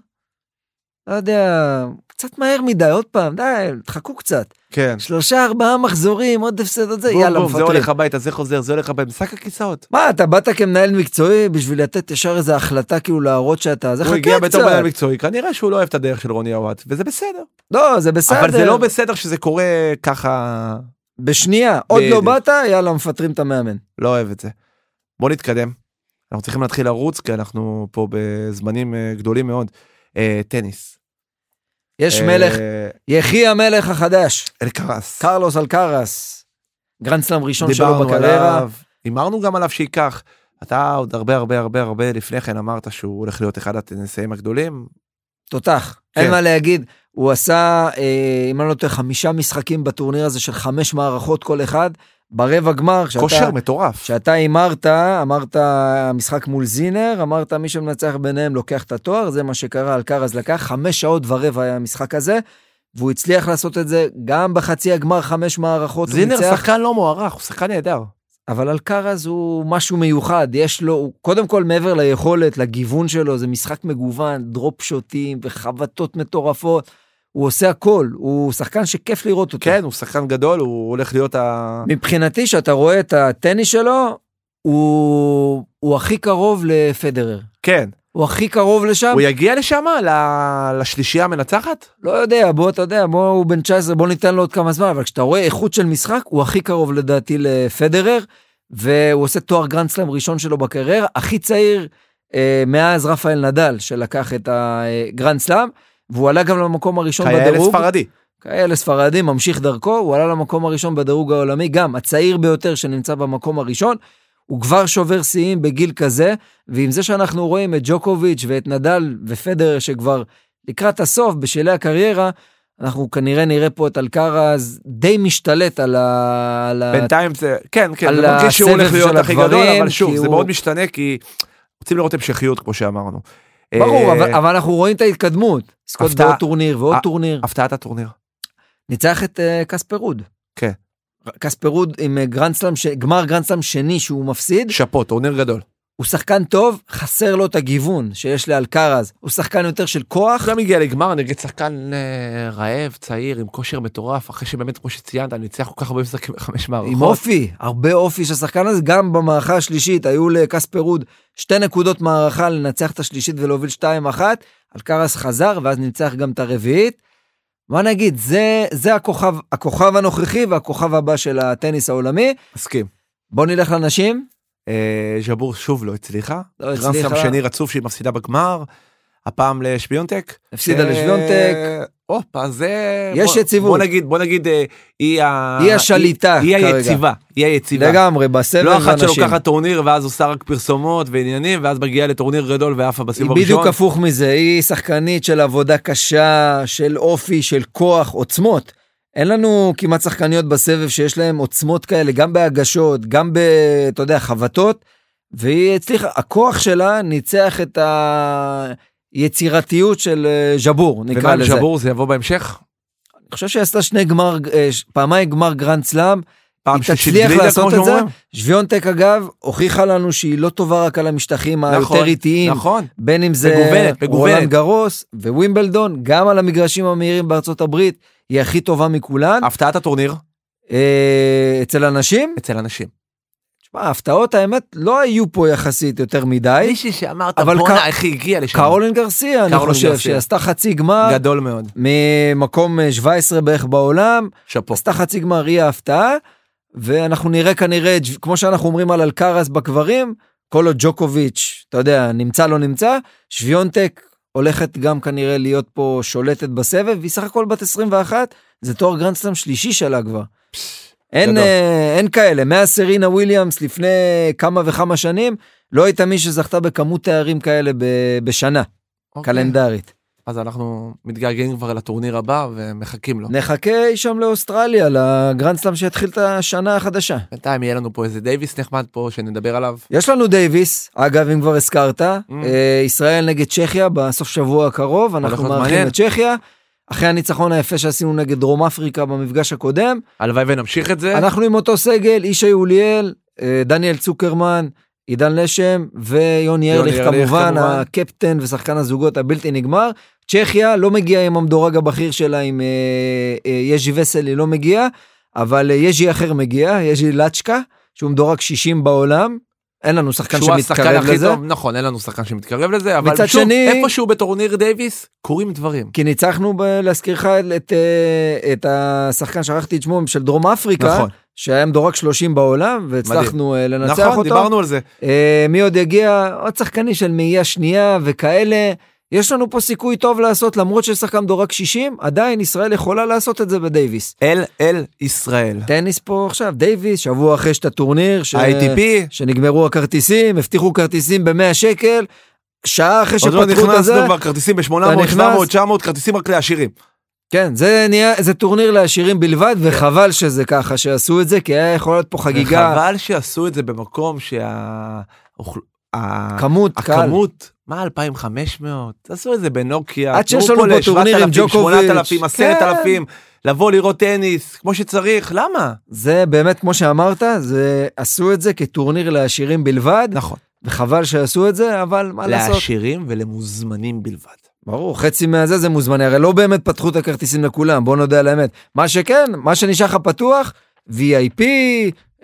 B: לא יודע, קצת מהר מדי, עוד פעם, די, תחכו קצת.
A: כן.
B: שלושה, ארבעה מחזורים, עוד הפסד עוד זה,
A: בום,
B: יאללה,
A: בום, זה
B: מפטרים.
A: הולך הביתה, זה חוזר, זה הולך הביתה, משחק הכיסאות.
B: מה, אתה באת כמנהל מקצועי בשביל לתת ישר איזו החלטה כאילו להראות שאתה, זה
A: הוא
B: חכה
A: הגיע בתור
B: קצת.
A: מנהל מקצועי, כנראה שהוא לא אוהב את הדרך של רוני אוואט, וזה בסדר.
B: לא, זה בסדר.
A: אבל זה לא בסדר שזה קורה ככה,
B: בשנייה, עוד לא
A: בדיוק.
B: באת, יאללה, מפטרים את המאמן.
A: לא אוהב את זה. בוא נתקדם. אנחנו צריכים להתחיל לרוץ, כי אנחנו פה בזמנים אה, גדולים מאוד. אה, טניס.
B: יש
A: אה,
B: מלך, יחי המלך החדש,
A: אלקרס.
B: קרלוס אלקרס. גרנד סלאם ראשון שלו
A: דיברנו
B: בקריירה.
A: עליו, הימרנו גם עליו שייקח. אתה עוד הרבה הרבה הרבה הרבה לפני כן אמרת שהוא הולך להיות אחד הטניסאים הגדולים.
B: תותח,
A: כן.
B: אין מה להגיד. הוא עשה, אה, אם אני לא טועה, חמישה משחקים בטורניר הזה של חמש מערכות כל אחד. ברבע גמר, כשאתה-
A: כושר מטורף.
B: כשאתה הימרת, אמרת משחק מול זינר, אמרת מי שמנצח ביניהם לוקח את התואר, זה מה שקרה, אלקרז לקח, חמש שעות ורבע היה המשחק הזה, והוא הצליח לעשות את זה גם בחצי הגמר, חמש מערכות, הוא
A: זינר
B: ניצח.
A: שחקן לא מוערך, הוא שחקן נהדר.
B: אבל אלקרז הוא משהו מיוחד, יש לו, הוא, קודם כל מעבר ליכולת, לגיוון שלו, זה משחק מגוון, דרופ שוטים וחבטות מטורפות, הוא עושה הכל, הוא שחקן שכיף לראות אותו.
A: כן, הוא שחקן גדול, הוא הולך להיות ה...
B: מבחינתי, שאתה רואה את הטניס שלו, הוא, הוא הכי קרוב לפדרר.
A: כן.
B: הוא הכי קרוב לשם,
A: הוא יגיע לשם? ל- לשלישייה המנצחת?
B: לא יודע, בוא, אתה יודע, בוא, הוא בן 19, בוא ניתן לו עוד כמה זמן, אבל כשאתה רואה איכות של משחק, הוא הכי קרוב לדעתי לפדרר, והוא עושה תואר גרנדסלאם ראשון שלו בקריירה, הכי צעיר אה, מאז רפאל נדל, שלקח את הגרנדסלאם, והוא עלה גם למקום הראשון
A: כאלה
B: בדירוג.
A: ספרדי.
B: כאלה ספרדים, ממשיך דרכו, הוא עלה למקום הראשון בדירוג העולמי, גם הצעיר ביותר שנמצא במקום הראשון, הוא כבר שובר שיאים בגיל כזה, ועם זה שאנחנו רואים את ג'וקוביץ' ואת נדל ופדרר שכבר לקראת הסוף, בשלהי הקריירה, אנחנו כנראה נראה פה את אלקרז די משתלט על ה... על ה-
A: בינתיים זה... כן, כן,
B: על
A: זה מרגיש שהוא
B: הסבב
A: הולך להיות
B: של
A: הכי גדול,
B: הגברים,
A: אבל שוב,
B: כי
A: זה
B: הוא-
A: מאוד משתנה, כי רוצים לראות המשכיות, כמו שאמרנו.
B: ברור,
A: אה,
B: אבל, אבל אנחנו רואים את ההתקדמות. סקוט
A: הפתעה.
B: בעוד טורניר ועוד
A: אה,
B: טורניר.
A: הפתעת הטורניר.
B: ניצח את אה, קספר רוד.
A: כן.
B: קספר רוד עם אה, גרנד סלאם, ש- גמר גרנד סלאם שני שהוא מפסיד.
A: שאפו, טורניר גדול.
B: הוא שחקן טוב, חסר לו את הגיוון שיש לאלקרז. הוא שחקן יותר של כוח.
A: גם הגיע לגמר נגד שחקן אה, רעב, צעיר, עם כושר מטורף, אחרי שבאמת, כמו שציינת, ניצח כל כך הרבה משחקים בחמש מערכות.
B: עם אופי, הרבה אופי של השחקן הזה, גם במערכה השלישית היו לקספר רוד שתי נקודות מערכה לנצח את השלישית ולהוביל 2-1, אלקרס חזר ואז ניצח גם את הרביעית. מה נגיד, זה, זה הכוכב, הכוכב הנוכחי והכוכב הבא של הטניס העולמי.
A: מסכים.
B: בוא נלך לנשים.
A: אה, ז'בור שוב לא הצליחה.
B: לא
A: גרנד סלאם
B: הצליחה,
A: שני רצוף שהיא מפסידה בגמר, הפעם לשביונטק.
B: הפסידה
A: אה,
B: לשביונטק.
A: הופה, זה...
B: יש
A: בוא-
B: יציבות.
A: בוא נגיד, בוא נגיד, אה, היא ה...
B: היא השליטה
A: היא
B: כרגע.
A: היציבה, היא היציבה.
B: לגמרי, בסבב
A: לא אחת
B: הנשים.
A: שלוקחת טורניר ואז עושה רק פרסומות ועניינים ואז מגיעה לטורניר גדול ועפה
B: היא
A: בסיבוב הראשון.
B: בדיוק הפוך מזה, היא שחקנית של עבודה קשה, של אופי, של כוח, עוצמות. אין לנו כמעט שחקניות בסבב שיש להן עוצמות כאלה, גם בהגשות, גם ב... אתה יודע, חבטות, והיא הצליחה, הכוח שלה ניצח את היצירתיות של אה, ז'בור, נקרא
A: ומה עם
B: לזה.
A: שבור זה יבוא בהמשך?
B: אני חושב שהיא עשתה שני גמר, אה, ש- פעמיים גמר גרנד סלאם,
A: פעם
B: היא
A: שלישית
B: תצליח
A: גלידה,
B: לעשות
A: כמו
B: את זה.
A: שאומרים?
B: שוויונטק אגב, הוכיחה לנו שהיא לא טובה רק על המשטחים היותר איטיים,
A: נכון.
B: בין אם זה
A: מגוונת, מגוונת.
B: רולנד גרוס ווימבלדון, גם על המגרשים המהירים בארצות הברית, היא הכי טובה מכולן.
A: הפתעת הטורניר
B: אה, אצל הנשים,
A: אצל אנשים.
B: תשמע, ההפתעות האמת לא היו פה יחסית יותר מדי.
A: מישהי שאמרת
B: אבל
A: בואנה
B: קר-
A: איך היא הגיעה לשם.
B: קרולין גרסיה, אני
A: קרולין
B: חושב,
A: גרסיה.
B: שהיא עשתה חצי גמר
A: גדול מאוד.
B: ממקום אה, 17 בערך בעולם,
A: שאפו.
B: עשתה חצי גמר, היא ההפתעה, ואנחנו נראה כנראה, את- כמו שאנחנו אומרים על אלקרס בקברים, כל עוד ג'וקוביץ', אתה יודע, נמצא לא נמצא, שוויונטק הולכת גם כנראה להיות פה שולטת בסבב, והיא סך הכל בת 21, זה תואר גרנדסלאם שלישי שלה כבר. אין,
A: גדול.
B: אה, אין כאלה, מאז סרינה וויליאמס לפני כמה וכמה שנים, לא הייתה מי שזכתה בכמות תארים כאלה ב- בשנה,
A: אוקיי.
B: קלנדרית.
A: אז אנחנו מתגעגעים כבר לטורניר הבא ומחכים לו.
B: נחכה אי שם לאוסטרליה, לגרנדסלאם שיתחיל את השנה החדשה.
A: בינתיים יהיה לנו פה איזה דייוויס נחמד פה שנדבר עליו.
B: יש לנו דייוויס, אגב, אם כבר הזכרת,
A: Mm.
B: אה, ישראל נגד צ'כיה בסוף שבוע הקרוב, אנחנו
A: להיות
B: מארחים
A: מעניין.
B: את צ'כיה. אחרי הניצחון היפה שעשינו נגד דרום אפריקה במפגש הקודם,
A: הלוואי ונמשיך את זה.
B: אנחנו עם אותו סגל, ישי יוליאל, אה, דניאל צוקרמן, עידן לשם ויוני
A: יוני
B: ארליך
A: ארליך,
B: כמובן,
A: כמובן.
B: הקפטן ושחקן הזוגות הבלתי נגמר. צ'כיה לא מגיע עם המדורג הבכיר שלה, עם אה, אה, יז'י וסלי לא מגיע, אבל אה, יז'י אחר מגיע, יז'י לאצ'קה, שהוא מדורג 60 בעולם. אין לנו שחקן
A: שהוא השחקן
B: שמתקרב
A: הכי
B: לזה,
A: טוב, נכון, אין לנו שחקן שמתקרב לזה, אבל
B: מצד
A: שוב,
B: שני-
A: איפשהו בתורניר דייוויס קורים דברים.
B: כי ניצחנו, ב- להזכירך, את, אה, את השחקן, שכחתי את שמו, של דרום אפריקה,
A: נכון.
B: שהיה מדורג 30 בעולם, והצלחנו אה, לנצח
A: נכון,
B: אותו.
A: דיברנו על זה.
B: אה, מי עוד יגיע? עוד שחקנים של מאייה שנייה וכאלה. יש לנו פה סיכוי טוב לעשות, למרות שיש שחקן דורג 60, עדיין ישראל יכולה לעשות את זה בדייוויס.
A: אל אל ישראל.
B: טניס פה עכשיו, דייוויס, שבוע אחרי שאתה טורניר, ש...
A: ITP,
B: שנגמרו הכרטיסים, הבטיחו כרטיסים ב-100 שקל, שעה אחרי
A: עוד לא
B: שפתחו את
A: נכנסנו
B: זה,
A: כבר כרטיסים
B: אתה
A: ב-800,
B: נכנס?
A: 700, 900, כרטיסים רק לעשירים.
B: כן, זה, נהיה, זה טורניר לעשירים בלבד, וחבל שזה ככה, שעשו את זה, כי היה יכול להיות פה חגיגה,
A: חבל שעשו את זה במקום שה... האוכל- ה-
B: כמות, קהל.
A: הכמות, מה 2,500? עשו את זה בנוקיה.
B: עד שיש
A: תנו
B: לנו
A: פה
B: פה
A: ל-
B: טורניר
A: 7,000,
B: עם ג'וקוביץ'.
A: 8,000,
B: כן.
A: 10,000, לבוא לראות טניס, כמו שצריך, למה?
B: זה באמת, כמו שאמרת, זה, עשו את זה כטורניר לעשירים בלבד,
A: נכון.
B: וחבל שעשו את זה, אבל מה לעשות?
A: לעשירים ולמוזמנים בלבד.
B: ברור, חצי מהזה זה מוזמני, הרי לא באמת פתחו את הכרטיסים לכולם, בוא נודה על האמת. מה שכן, מה שנשאר לך פתוח, VIP,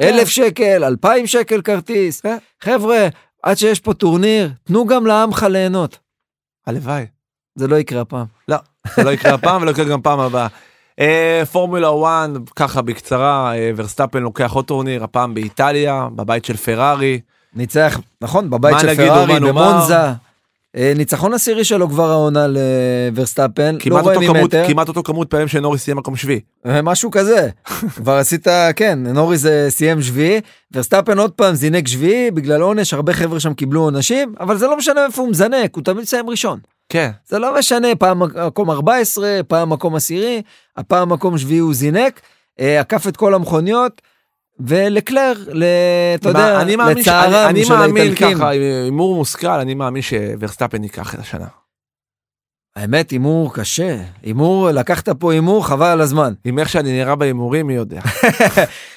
B: אלף שקל, אלפיים שקל כרטיס.
A: כן.
B: חבר'ה, עד שיש פה טורניר, תנו גם לעמך ליהנות.
A: הלוואי.
B: זה לא יקרה הפעם.
A: זה לא יקרה הפעם ולא יקרה גם פעם הבאה. אה, פורמולה 1 ככה בקצרה אה, ורסטאפן לוקח עוד טורניר הפעם באיטליה בבית של פרארי
B: ניצח, נכון, בבית
A: מה
B: של
A: נגיד,
B: פרארי,
A: אומן אומר?
B: במונזה. אה, ניצחון עשירי שלו כבר העונה לוורסטאפן, לא
A: כמעט,
B: רואה
A: אותו כמות,
B: ממטר,
A: כמעט אותו כמות פעמים שנוריס סיים מקום שביעי.
B: אה, משהו כזה. כבר עשית, כן, נורי זה סיים שביעי, ורסטאפן עוד פעם זינק שביעי, בגלל עונש הרבה חבר'ה שם קיבלו עונשים, אבל זה לא משנה איפה הוא מזנק, הוא תמיד מסיים ראשון.
A: כן.
B: זה לא משנה, פעם מקום 14, פעם מקום עשירי, הפעם מקום שביעי הוא זינק, אה, עקף את כל המכוניות, ולקלר, ל- אתה יודע,
A: אני מאמין, ש-
B: לצערם
A: אני, אני
B: של
A: מאמין
B: האיטלקים.
A: ככה, הימור מושכל, אני מאמין שוורסטאפן ייקח את השנה.
B: האמת, הימור קשה. הימור, לקחת פה הימור, חבל על הזמן.
A: עם איך שאני נראה בהימורים, מי יודע.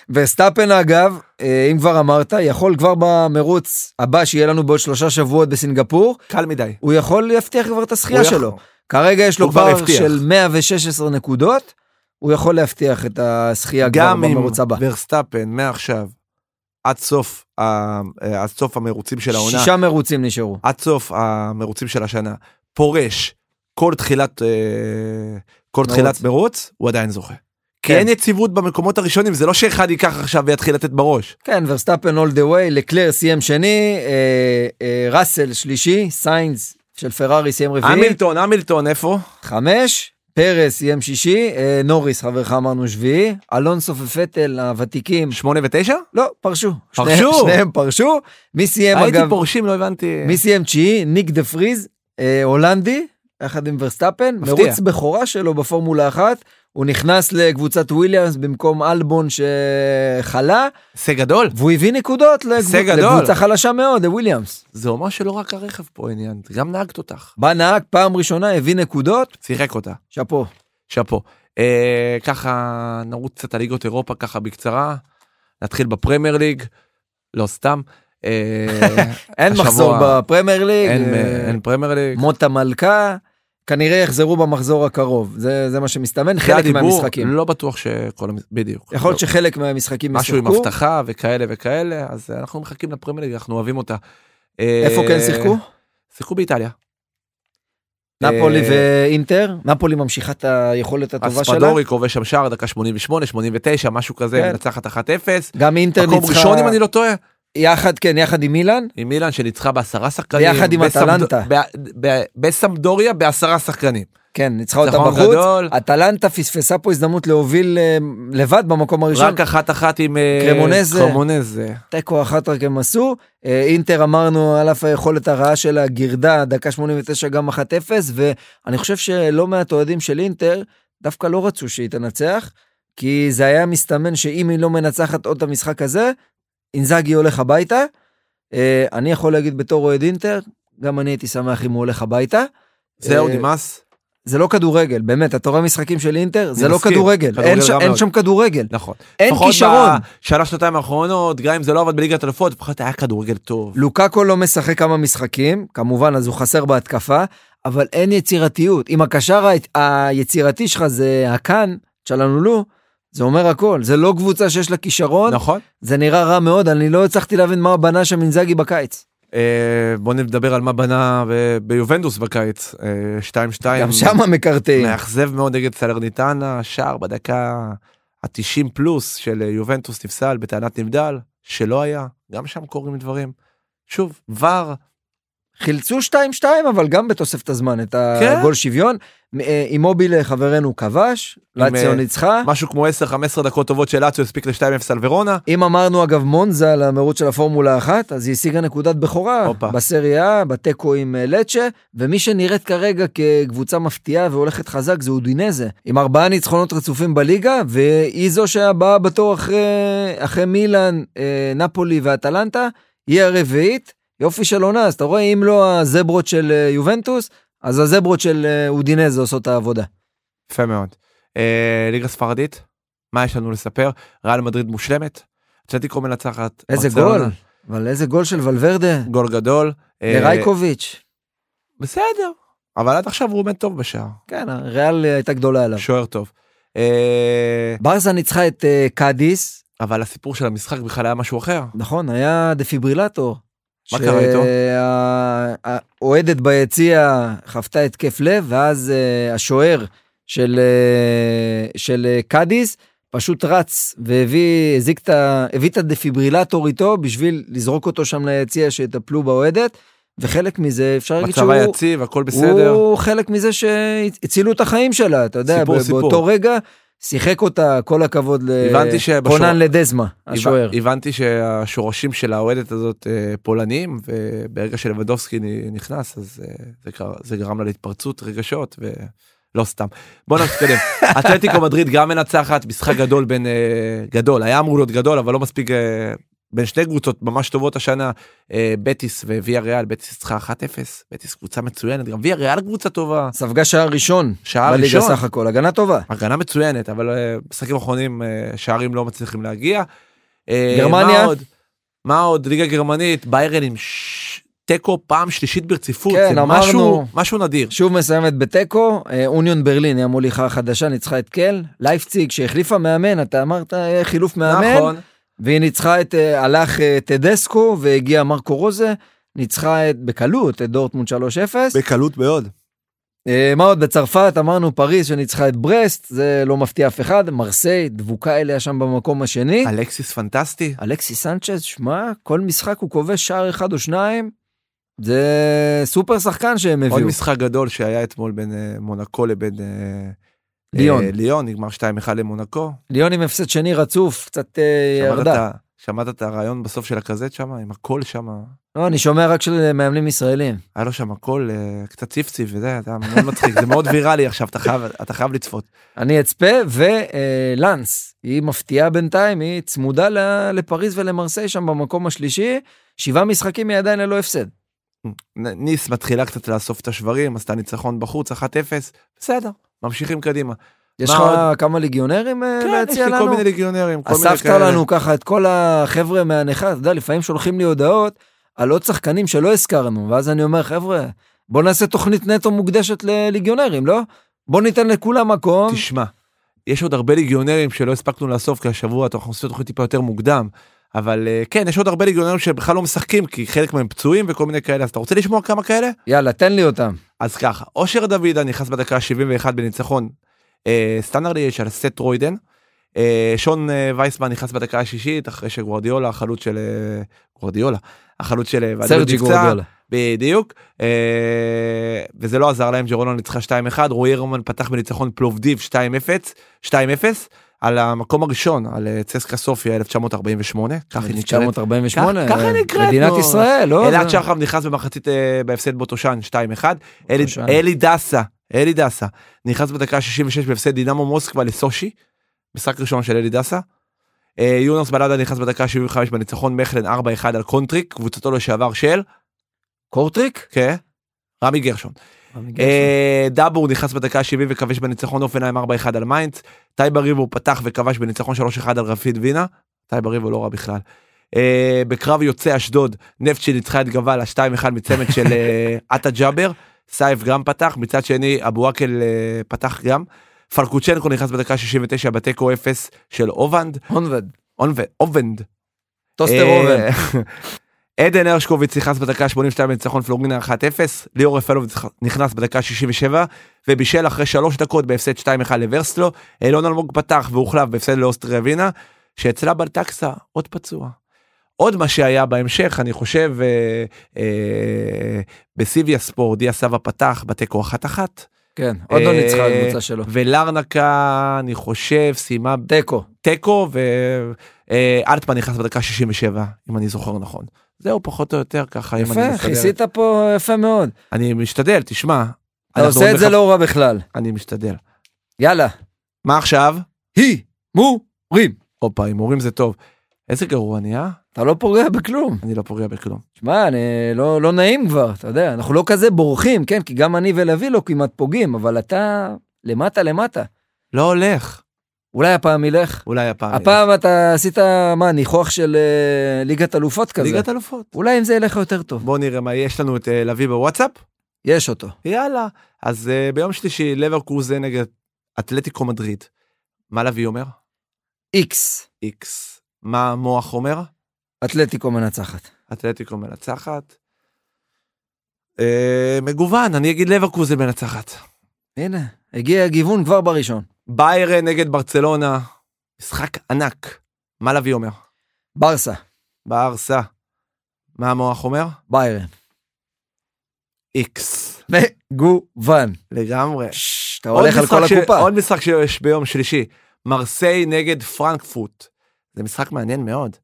B: וסטאפן אגב, אה, אם כבר אמרת, יכול כבר במרוץ הבא שיהיה לנו בעוד שלושה שבועות בסינגפור,
A: קל מדי.
B: הוא יכול להבטיח כבר את הזכייה
A: הוא יכול.
B: שלו. כרגע יש לו
A: הוא כבר
B: כבר
A: הבטיח.
B: של 116 נקודות, הוא יכול להבטיח את הזכייה כבר
A: גם אם
B: במרוץ הבא.
A: ורסטאפן מעכשיו עד סוף ה- אה, עד סוף המרוצים של העונה,
B: שישה מרוצים נשארו.
A: עד סוף המרוצים של השנה, פורש כל תחילת אה, כל
B: מרוץ.
A: תחילת מרוץ, הוא עדיין זוכה. כי
B: כן.
A: אין יציבות במקומות הראשונים, זה לא שאחד ייקח עכשיו ויתחיל לתת בראש.
B: כן, ורסטאפן אול דה ווי, לקלר סיים שני, אה, אה, ראסל שלישי, סיינס של פרארי סיים רביעי,
A: המילטון, המילטון, איפה?
B: חמש, פרס סיים שישי, אה, נוריס חברך אמרנו שביעי, אלונסו ופטל הוותיקים,
A: שמונה ותשע?
B: לא, פרשו.
A: פרשו?
B: שניהם, שניהם פרשו. מי סיים
A: הייתי
B: אגב,
A: פורשים, לא הבנתי.
B: מי סיים תשיעי? ניק דה פריז, אה, הולנדי, יחד עם ורסטאפן.
A: מפתיע.
B: מרוץ בכורה שלו בפורמולה אחת. הוא נכנס לקבוצת וויליאמס במקום אלבון שחלה,
A: זה גדול.
B: והוא הביא נקודות לקבוצ...
A: הישג גדול.
B: לקבוצה חלשה מאוד, לוויליאמס.
A: זה אומר שלא רק הרכב פה עניין, גם נהגת אותך.
B: בא נהג פעם ראשונה, הביא נקודות,
A: שיחק אותה.
B: שאפו.
A: שאפו. אה, ככה נרוץ קצת על ליגות אירופה ככה בקצרה. נתחיל בפרמייר ליג. לא סתם. אה,
B: אין
A: השבוע
B: מחזור בפרמייר ליג,
A: אין,
B: אה,
A: אה, אין פרמייר ליג.
B: מות המלכה, כנראה יחזרו במחזור הקרוב, זה, זה מה שמסתמן,
A: זה
B: חלק
A: הדיבור,
B: מהמשחקים.
A: לא בטוח שכל המשחקים, בדיוק.
B: יכול להיות
A: לא.
B: שחלק מהמשחקים
A: משהו עם
B: ישחקו.
A: הבטחה וכאלה וכאלה, אז אה, אנחנו מחכים לפרמייר ליג, אנחנו אוהבים אותה. אה,
B: איפה כן שיחקו?
A: שיחקו באיטליה.
B: נפולי
A: אה,
B: ואינטר? נפולי ממשיכה את היכולת הטובה שלה?
A: אספדורי כובש שם שער, דקה 88, 89, משהו כזה,
B: כן.
A: מנצחת 1-0.
B: גם אינטר
A: מקום
B: ניצחה...
A: ראשון אם אני לא טועה,
B: יחד, כן, יחד עם מילאן?
A: עם מילאן שניצחה בעשרה שחקנים.
B: ביחד עם
A: בסמד-
B: אטלנטה.
A: ב- ב- בסמדוריה בעשרה שחקנים.
B: כן, ניצחה אותה
A: ניצחון
B: בחוץ.
A: נכון, גדול.
B: אטלנטה פספסה פה הזדמנות להוביל אה, לבד במקום הראשון.
A: רק אחת אחת עם אה,
B: קרמונזה.
A: קרמונזה.
B: תיקו אחת רק הם עשו. אה, אינטר אמרנו על אף היכולת הרעה שלה, גירדה, דקה 89 גם 1-0, ואני חושב שלא מעט אוהדים של אינטר דווקא לא רצו שהיא תנצח, כי זה היה מסתמן שאם היא לא מנצחת עוד את המשחק הזה, אינזאגי הולך הביתה. אה, אני יכול להגיד בתור אוהד אינטר, גם אני הייתי שמח אם הוא הולך הביתה.
A: זהו,
B: אה,
A: נמאס.
B: זה לא כדורגל, באמת, אתה רואה משחקים של אינטר, זה
A: אני
B: לא
A: מסכים,
B: כדורגל, אין
A: כדורגל
B: ש-
A: רע
B: אין
A: מאוד.
B: שם כדורגל.
A: נכון.
B: אין
A: לפחות
B: כישרון.
A: בשלוש שנתיים האחרונות, גם אם זה לא עבד בליגת אלופות, לפחות היה כדורגל טוב.
B: לוקאקו לא משחק כמה משחקים, כמובן, אז הוא חסר בהתקפה, אבל אין יצירתיות. אם הקשר ה- היצירתי שלך זה הקאן, צ'לנולו, זה אומר הכל. זה לא קבוצה שיש לה כישרון,
A: נכון.
B: זה נראה רע מאוד, אני לא הצלחתי להבין מה בנה שם אינזאגי בקיץ.
A: אה, בוא נדבר על מה בנה ב- ביובנטוס בקיץ. אה, 2-2.
B: גם שמה
A: כן.
B: מקרטעים.
A: מאכזב מאוד נגד סלרניטנה, שער בדקה ה-90 פלוס של אה, יובנטוס נפסל בטענת נבדל, שלא היה, גם שם קורים דברים. שוב, ור,
B: חילצו 2-2, אבל גם בתוספת הזמן, את
A: כן.
B: הגול שוויון. אה, אימוביל חברנו כבש,
A: עם,
B: לאציו
A: אה,
B: ניצחה.
A: משהו כמו 10-15 דקות טובות של לאציו הספיק ל-2-0 על ורונה.
B: אם אמרנו אגב מונזה על המרוץ של הפורמולה אחת, אז היא השיגה נקודת בכורה
A: הופה.
B: בסריה, בתיקו עם אה, לצ'ה, ומי שנראית כרגע כקבוצה מפתיעה והולכת חזק זה אודינזה, עם ארבעה ניצחונות רצופים בליגה, והיא זו שהבאה בתור אחרי, אחרי מילאן, אה, נפולי ואטלנטה, היא הרביעית, יופי של עונה, אז אתה רואה אם לא הזברות של אה, יובנטוס, אז הזברות של אה, אודינזה עושות את העבודה.
A: יפה מאוד. אה, ליגה ספרדית, מה יש לנו לספר? ריאל מדריד מושלמת, אתלטיקו מנצחת.
B: איזה
A: ברצלונה.
B: גול, אבל איזה גול של ולוורדה,
A: גול גדול. אה,
B: לרייקוביץ'.
A: בסדר, אבל עד עכשיו הוא עומד טוב בשער,
B: כן, ריאל הייתה גדולה עליו.
A: שוער טוב. אה,
B: ברסה ניצחה את אה, קאדיס,
A: אבל הסיפור של המשחק בכלל היה משהו אחר.
B: נכון, היה דפיברילטור.
A: מה קרה איתו?
B: שהאוהדת ביציע חוותה התקף לב, ואז אה, השוער של, אה, של אה, קאדיס פשוט רץ והביא, הזיק את ה... הביא את הדפיברילטור איתו בשביל לזרוק אותו שם ליציע שיטפלו באוהדת, וחלק מזה אפשר להגיד
A: מצבה
B: שהוא...
A: יציב, הכל בסדר.
B: הוא חלק מזה שהצילו את החיים שלה, אתה יודע,
A: סיפור,
B: ב-
A: סיפור.
B: באותו רגע שיחק אותה, כל הכבוד
A: הבנתי שבשוער-
B: לקונן לדזמה, השוער.
A: הבנ- הבנתי שהשורשים של האוהדת הזאת אה, פולנים, וברגע שלבדובסקי נ- נכנס, אז אה, זה קרה- זה גרם לה להתפרצות רגשות, ולא סתם. בוא נתקדם. אתלטיקו מדריד גם מנצחת, משחק גדול בין... אה, גדול, היה אמור להיות גדול, אבל לא מספיק אה, בין שתי קבוצות ממש טובות השנה, אה, בטיס וויה ריאל, בטיס ניצחה 1-0, בטיס קבוצה מצוינת, גם ויה ריאל קבוצה טובה,
B: ספגה שער ראשון.
A: שער
B: בליגה
A: ראשון,
B: סך הכל, הגנה טובה.
A: הגנה מצוינת, אבל אה, משחקים אחרונים אה, שערים לא מצליחים להגיע. אה,
B: גרמניה?
A: מה עוד? מה עוד? ליגה גרמנית, ביירן עם ש- תיקו פעם שלישית ברציפות,
B: כן,
A: זה
B: אמרנו.
A: משהו, משהו נדיר.
B: שוב מסיימת בתיקו, אה, אוניון ברלין היא המוליכה החדשה, ניצחה את קל, לייפציג שהחליפה מאמן, אתה אמרת אה, חילוף מאמן,
A: נכון,
B: והיא ניצחה את, אה, הלך אה, טדסקו והגיע מרקו רוזה, ניצחה את, בקלות את דורטמונד 3-0.
A: בקלות מאוד.
B: אה, מה עוד בצרפת אמרנו פריז שניצחה את ברסט זה לא מפתיע אף אחד מרסיי דבוקה אליה שם במקום השני
A: אלקסיס פנטסטי,
B: אלכסי סנצ'ז שמע כל משחק הוא כובש שער אחד או שניים. זה סופר שחקן שהם
A: עוד
B: הביאו
A: משחק גדול שהיה אתמול בין אה, מונקו לבין אה,
B: ליון
A: אה, ליון, נגמר 2-1 למונקו.
B: ליון עם הפסד שני רצוף קצת אה,
A: שמעת
B: ירדה
A: את ה- שמעת את הרעיון בסוף של הקזט שם, עם הקול שם,
B: לא, אני שומע רק של מאמנים ישראלים
A: היה לו שם הקול אה, קצת ציפציף וזה, היה מאוד מצחיק, זה מאוד ויראלי עכשיו, אתה חייב- אתה חייב לצפות.
B: אני אצפה ולאנס היא מפתיעה בינתיים היא צמודה ל- לפריז ולמרסיי שם במקום השלישי שבעה משחקים היא עדיין ללא הפסד.
A: נ- ניס מתחילה קצת לאסוף את השברים, עשתה ניצחון בחוץ, 1-0, בסדר, ממשיכים קדימה.
B: יש
A: מה
B: לך
A: עוד?
B: כמה ליגיונרים אה,
A: כן, יש
B: להציע
A: לי
B: לנו?
A: כל מיני ליגיונרים, כל מיני
B: אספת לנו ככה את כל החבר'ה מהנכה, אתה יודע, לפעמים שולחים לי הודעות על עוד שחקנים שלא הזכרנו, ואז אני אומר, חבר'ה, בוא נעשה תוכנית נטו מוקדשת לליגיונרים, לא? בוא ניתן לכולם מקום.
A: תשמע, יש עוד הרבה ליגיונרים שלא הספקנו לאסוף, כי השבוע אנחנו עושים תוכנית טיפה יותר מוקדם, אבל אה, כן, יש עוד הרבה ליגיונרים שבכלל לא משחקים, כי חלק מהם פצועים וכל מיני כאלה, אז אתה רוצה לשמוע כמה כאלה?
B: יאללה, תן לי אותם.
A: אז ככה, אושר דוידה נכנס בדקה ה-71 בניצחון אה, סטנדרלי של סט רוידן. אה, שון אה, וייסמן נכנס בדקה השישית אחרי שגוורדיולה החלוץ של אה, גוורדיולה החלוץ של אה, ועדלות
B: סרג'י
A: נפצע.
B: גורדולה.
A: בדיוק אה, וזה לא עזר להם ג'רונה ניצחה 2-1 רועי רומן פתח בניצחון פלובדיב 2-0 2-0 על המקום הראשון על אה, צסקה סופיה 1948 כך היא נקראת
B: 1948,
A: ככה- ככה
B: אה,
A: נקראת,
B: מדינת
A: נו.
B: ישראל, לא?
A: אלעד
B: זה-
A: שחר נכנס במחצית אה, בהפסד בוטושן 2-1 אלי-
B: בוטושן.
A: אלי דסה אלי דסה נכנס בדקה ה-66 בהפסד דינמו מוסקבה לסושי משחק ראשון של אלי דסה. אה, יונס בלדה נכנס בדקה ה-75 בניצחון מכלן 4-1 על קונטריק קבוצתו לשעבר של
B: קורטריק?
A: כן, רמי גרשון. אה, דאבור נכנס בדקה ה-70 וכבש בניצחון אופנהיים 4-1 על מיינץ. טייב ריבו פתח וכבש בניצחון 3-1 על רפיד וינה. טייב ריבו לא רע בכלל. אה, בקרב יוצא אשדוד, נפצ'י ניצחה את גבל 2-1 מצמד של אה, עטה ג'אבר. סייף גם פתח, מצד שני אבו עקל אה, פתח גם. פרקוצ'נקו נכנס בדקה 69 בתיקו 0 של אובנד.
B: הונבד,
A: אונבנד, אובנד.
B: טוסטר
A: אה,
B: אובן.
A: עדן הרשקוביץ נכנס בדקה 82 בניצחון פלורינה 1-0, ליאור רפאלוב נכנס בדקה 67 ובישל אחרי 3 דקות בהפסד 2-1 לוורסלו, אילון אלמוג פתח והוחלף בהפסד לאוסטריה ווינה, שאצלה בלטקסה עוד פצוע. עוד מה שהיה בהמשך, אני חושב, אה, אה, בסיביה ספורט, דיה סבא פתח בתיקו 1-1,
B: כן, עוד לא
A: אה,
B: ניצחה הקבוצה שלו.
A: ולרנקה, אני חושב, סיימה
B: תיקו.
A: תיקו ואלטמן נכנס בדקה 67 אם אני זוכר נכון. זהו פחות או יותר ככה אם אני
B: יפה,
A: מסתדר.
B: כיסית פה יפה מאוד.
A: אני משתדל תשמע.
B: אתה
A: אנחנו
B: עושה את
A: עוד
B: זה
A: מחפ-
B: לא רע בכלל.
A: אני משתדל.
B: יאללה.
A: מה עכשיו?
B: היא מורים.
A: הופה הימורים זה טוב. איזה גרוע אני אה?
B: אתה לא פוגע בכלום.
A: אני לא פוגע בכלום.
B: שמע, אני לא, לא נעים כבר, אתה יודע, אנחנו לא כזה בורחים, כן? כי גם אני ולוי לא כמעט פוגעים, אבל אתה למטה למטה.
A: לא הולך.
B: אולי הפעם ילך.
A: אולי הפעם.
B: הפעם אתה עשית, מה, ניחוח של אה, ליגת אלופות
A: ילך.
B: כזה.
A: ליגת אלופות.
B: אולי עם זה ילך יותר טוב.
A: בוא נראה מה יש לנו את אה, לביא בוואטסאפ.
B: יש אותו.
A: יאללה. אז אה, ביום שלישי לברקוזן נגד אתלטיקו מדריד. מה לביא אומר?
B: איקס,
A: איקס. מה המוח אומר?
B: אתלטיקו מנצחת.
A: אתלטיקו מנצחת. אה, מגוון, אני אגיד לברקוזן מנצחת.
B: הנה, הגיע הגיוון כבר בראשון.
A: ביירן נגד ברצלונה, משחק ענק. מה לביא אומר?
B: ברסה,
A: בארסה. מה המוח אומר?
B: ביירן.
A: איקס.
B: מגוון.
A: לגמרי.
B: ש- אתה
A: עוד
B: הולך על
A: משחק
B: כל
A: ש-
B: הקופה.
A: עוד משחק שיש ביום שלישי, מרסיי נגד פרנקפורט. זה משחק מעניין מאוד.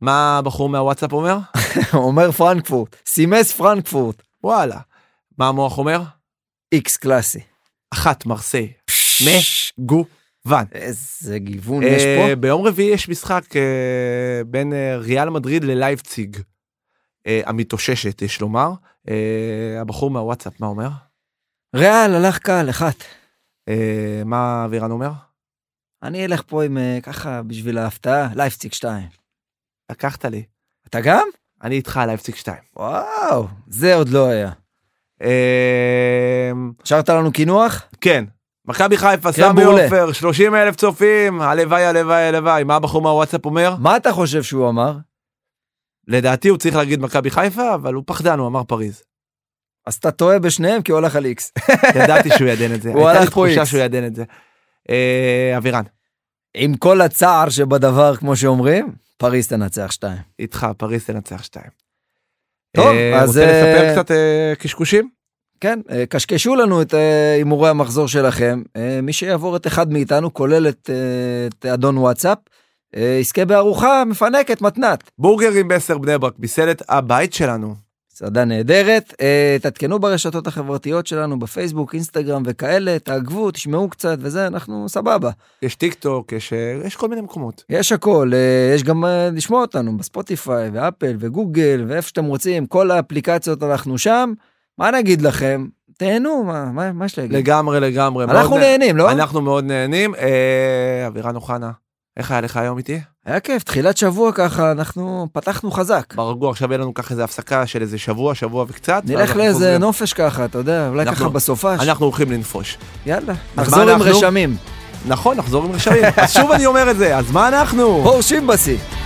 A: מה הבחור מהוואטסאפ אומר?
B: אומר פרנקפורט, סימס פרנקפורט.
A: וואלה. מה המוח אומר?
B: איקס קלאסי.
A: אחת מרסיי.
B: מגוון.
A: ון.
B: איזה גיוון יש פה.
A: אה, ביום רביעי יש משחק אה, בין אה, ריאל מדריד ללייפציג. אה, המתאוששת יש לומר. אה, הבחור מהוואטסאפ מה אומר?
B: ריאל הלך קל, אחת.
A: אה, מה אבירן אומר?
B: אני אלך פה עם אה, ככה בשביל ההפתעה, לייפציג 2.
A: לקחת לי.
B: אתה גם?
A: אני איתך על לייפציג 2.
B: וואו, זה עוד לא היה.
A: אה,
B: השארת לנו קינוח?
A: כן. מכבי חיפה,
B: קרם
A: סמי
B: כן, מעולה.
A: עופר, 30 אלף צופים, הלוואי, הלוואי, הלוואי. מה הבחור מהוואטסאפ אומר?
B: מה אתה חושב שהוא אמר?
A: לדעתי הוא צריך להגיד מכבי חיפה, אבל הוא פחדן, הוא אמר פריז.
B: אז אתה טועה בשניהם כי הוא הלך על איקס.
A: ידעתי שהוא יעדן את זה.
B: הוא
A: הייתה לי
B: הלך פה
A: תחושה
B: איקס.
A: שהוא יעדן את זה. אה, אבירן,
B: עם כל הצער שבדבר, כמו שאומרים, פריס תנצח 2.
A: איתך, פריז תנצח 2.
B: טוב, אז,
A: רוצה
B: אה,
A: לספר קצת אה, קשקושים?
B: כן, אה, קשקשו לנו את אה, הימורי המחזור שלכם. אה, מי שיעבור את אחד מאיתנו, כולל את, אה, את אדון וואטסאפ, אה, יזכה בארוחה מפנקת מתנת.
A: בורגרים בעשר בני ברק, מסעדת הבית שלנו.
B: מסעדה נהדרת. אה, תעדכנו ברשתות החברתיות שלנו, בפייסבוק, אינסטגרם וכאלה, תעקבו, תשמעו קצת וזה, אנחנו סבבה.
A: יש טיק טוק, יש, אה, יש כל מיני מקומות.
B: יש הכל, אה, יש גם אה, לשמוע אותנו בספוטיפיי ואפל וגוגל ואיפה שאתם רוצים, כל האפליקציות אנחנו שם. מה נגיד לכם? תהנו, מה, מה, מה יש להגיד?
A: לגמרי, לגמרי. מאוד
B: אנחנו
A: נה-
B: נהנים, לא?
A: אנחנו מאוד נהנים. אה, אבירן אוחנה, איך היה לך היום איתי?
B: היה כיף, תחילת שבוע ככה, אנחנו פתחנו חזק.
A: ברגוע, עכשיו יהיה לנו ככה איזה הפסקה של איזה שבוע, שבוע וקצת. ואז
B: נלך
A: אנחנו
B: לאיזה
A: חוזרים.
B: נופש ככה, אתה יודע, אולי
A: אנחנו-
B: ככה בסופש.
A: אנחנו הולכים לנפוש.
B: יאללה,
A: מה
B: נחזור עם
A: אנחנו?
B: רשמים.
A: נכון, נחזור עם רשעים. אז שוב אני אומר את זה, אז מה אנחנו?
B: פורשים בשיא.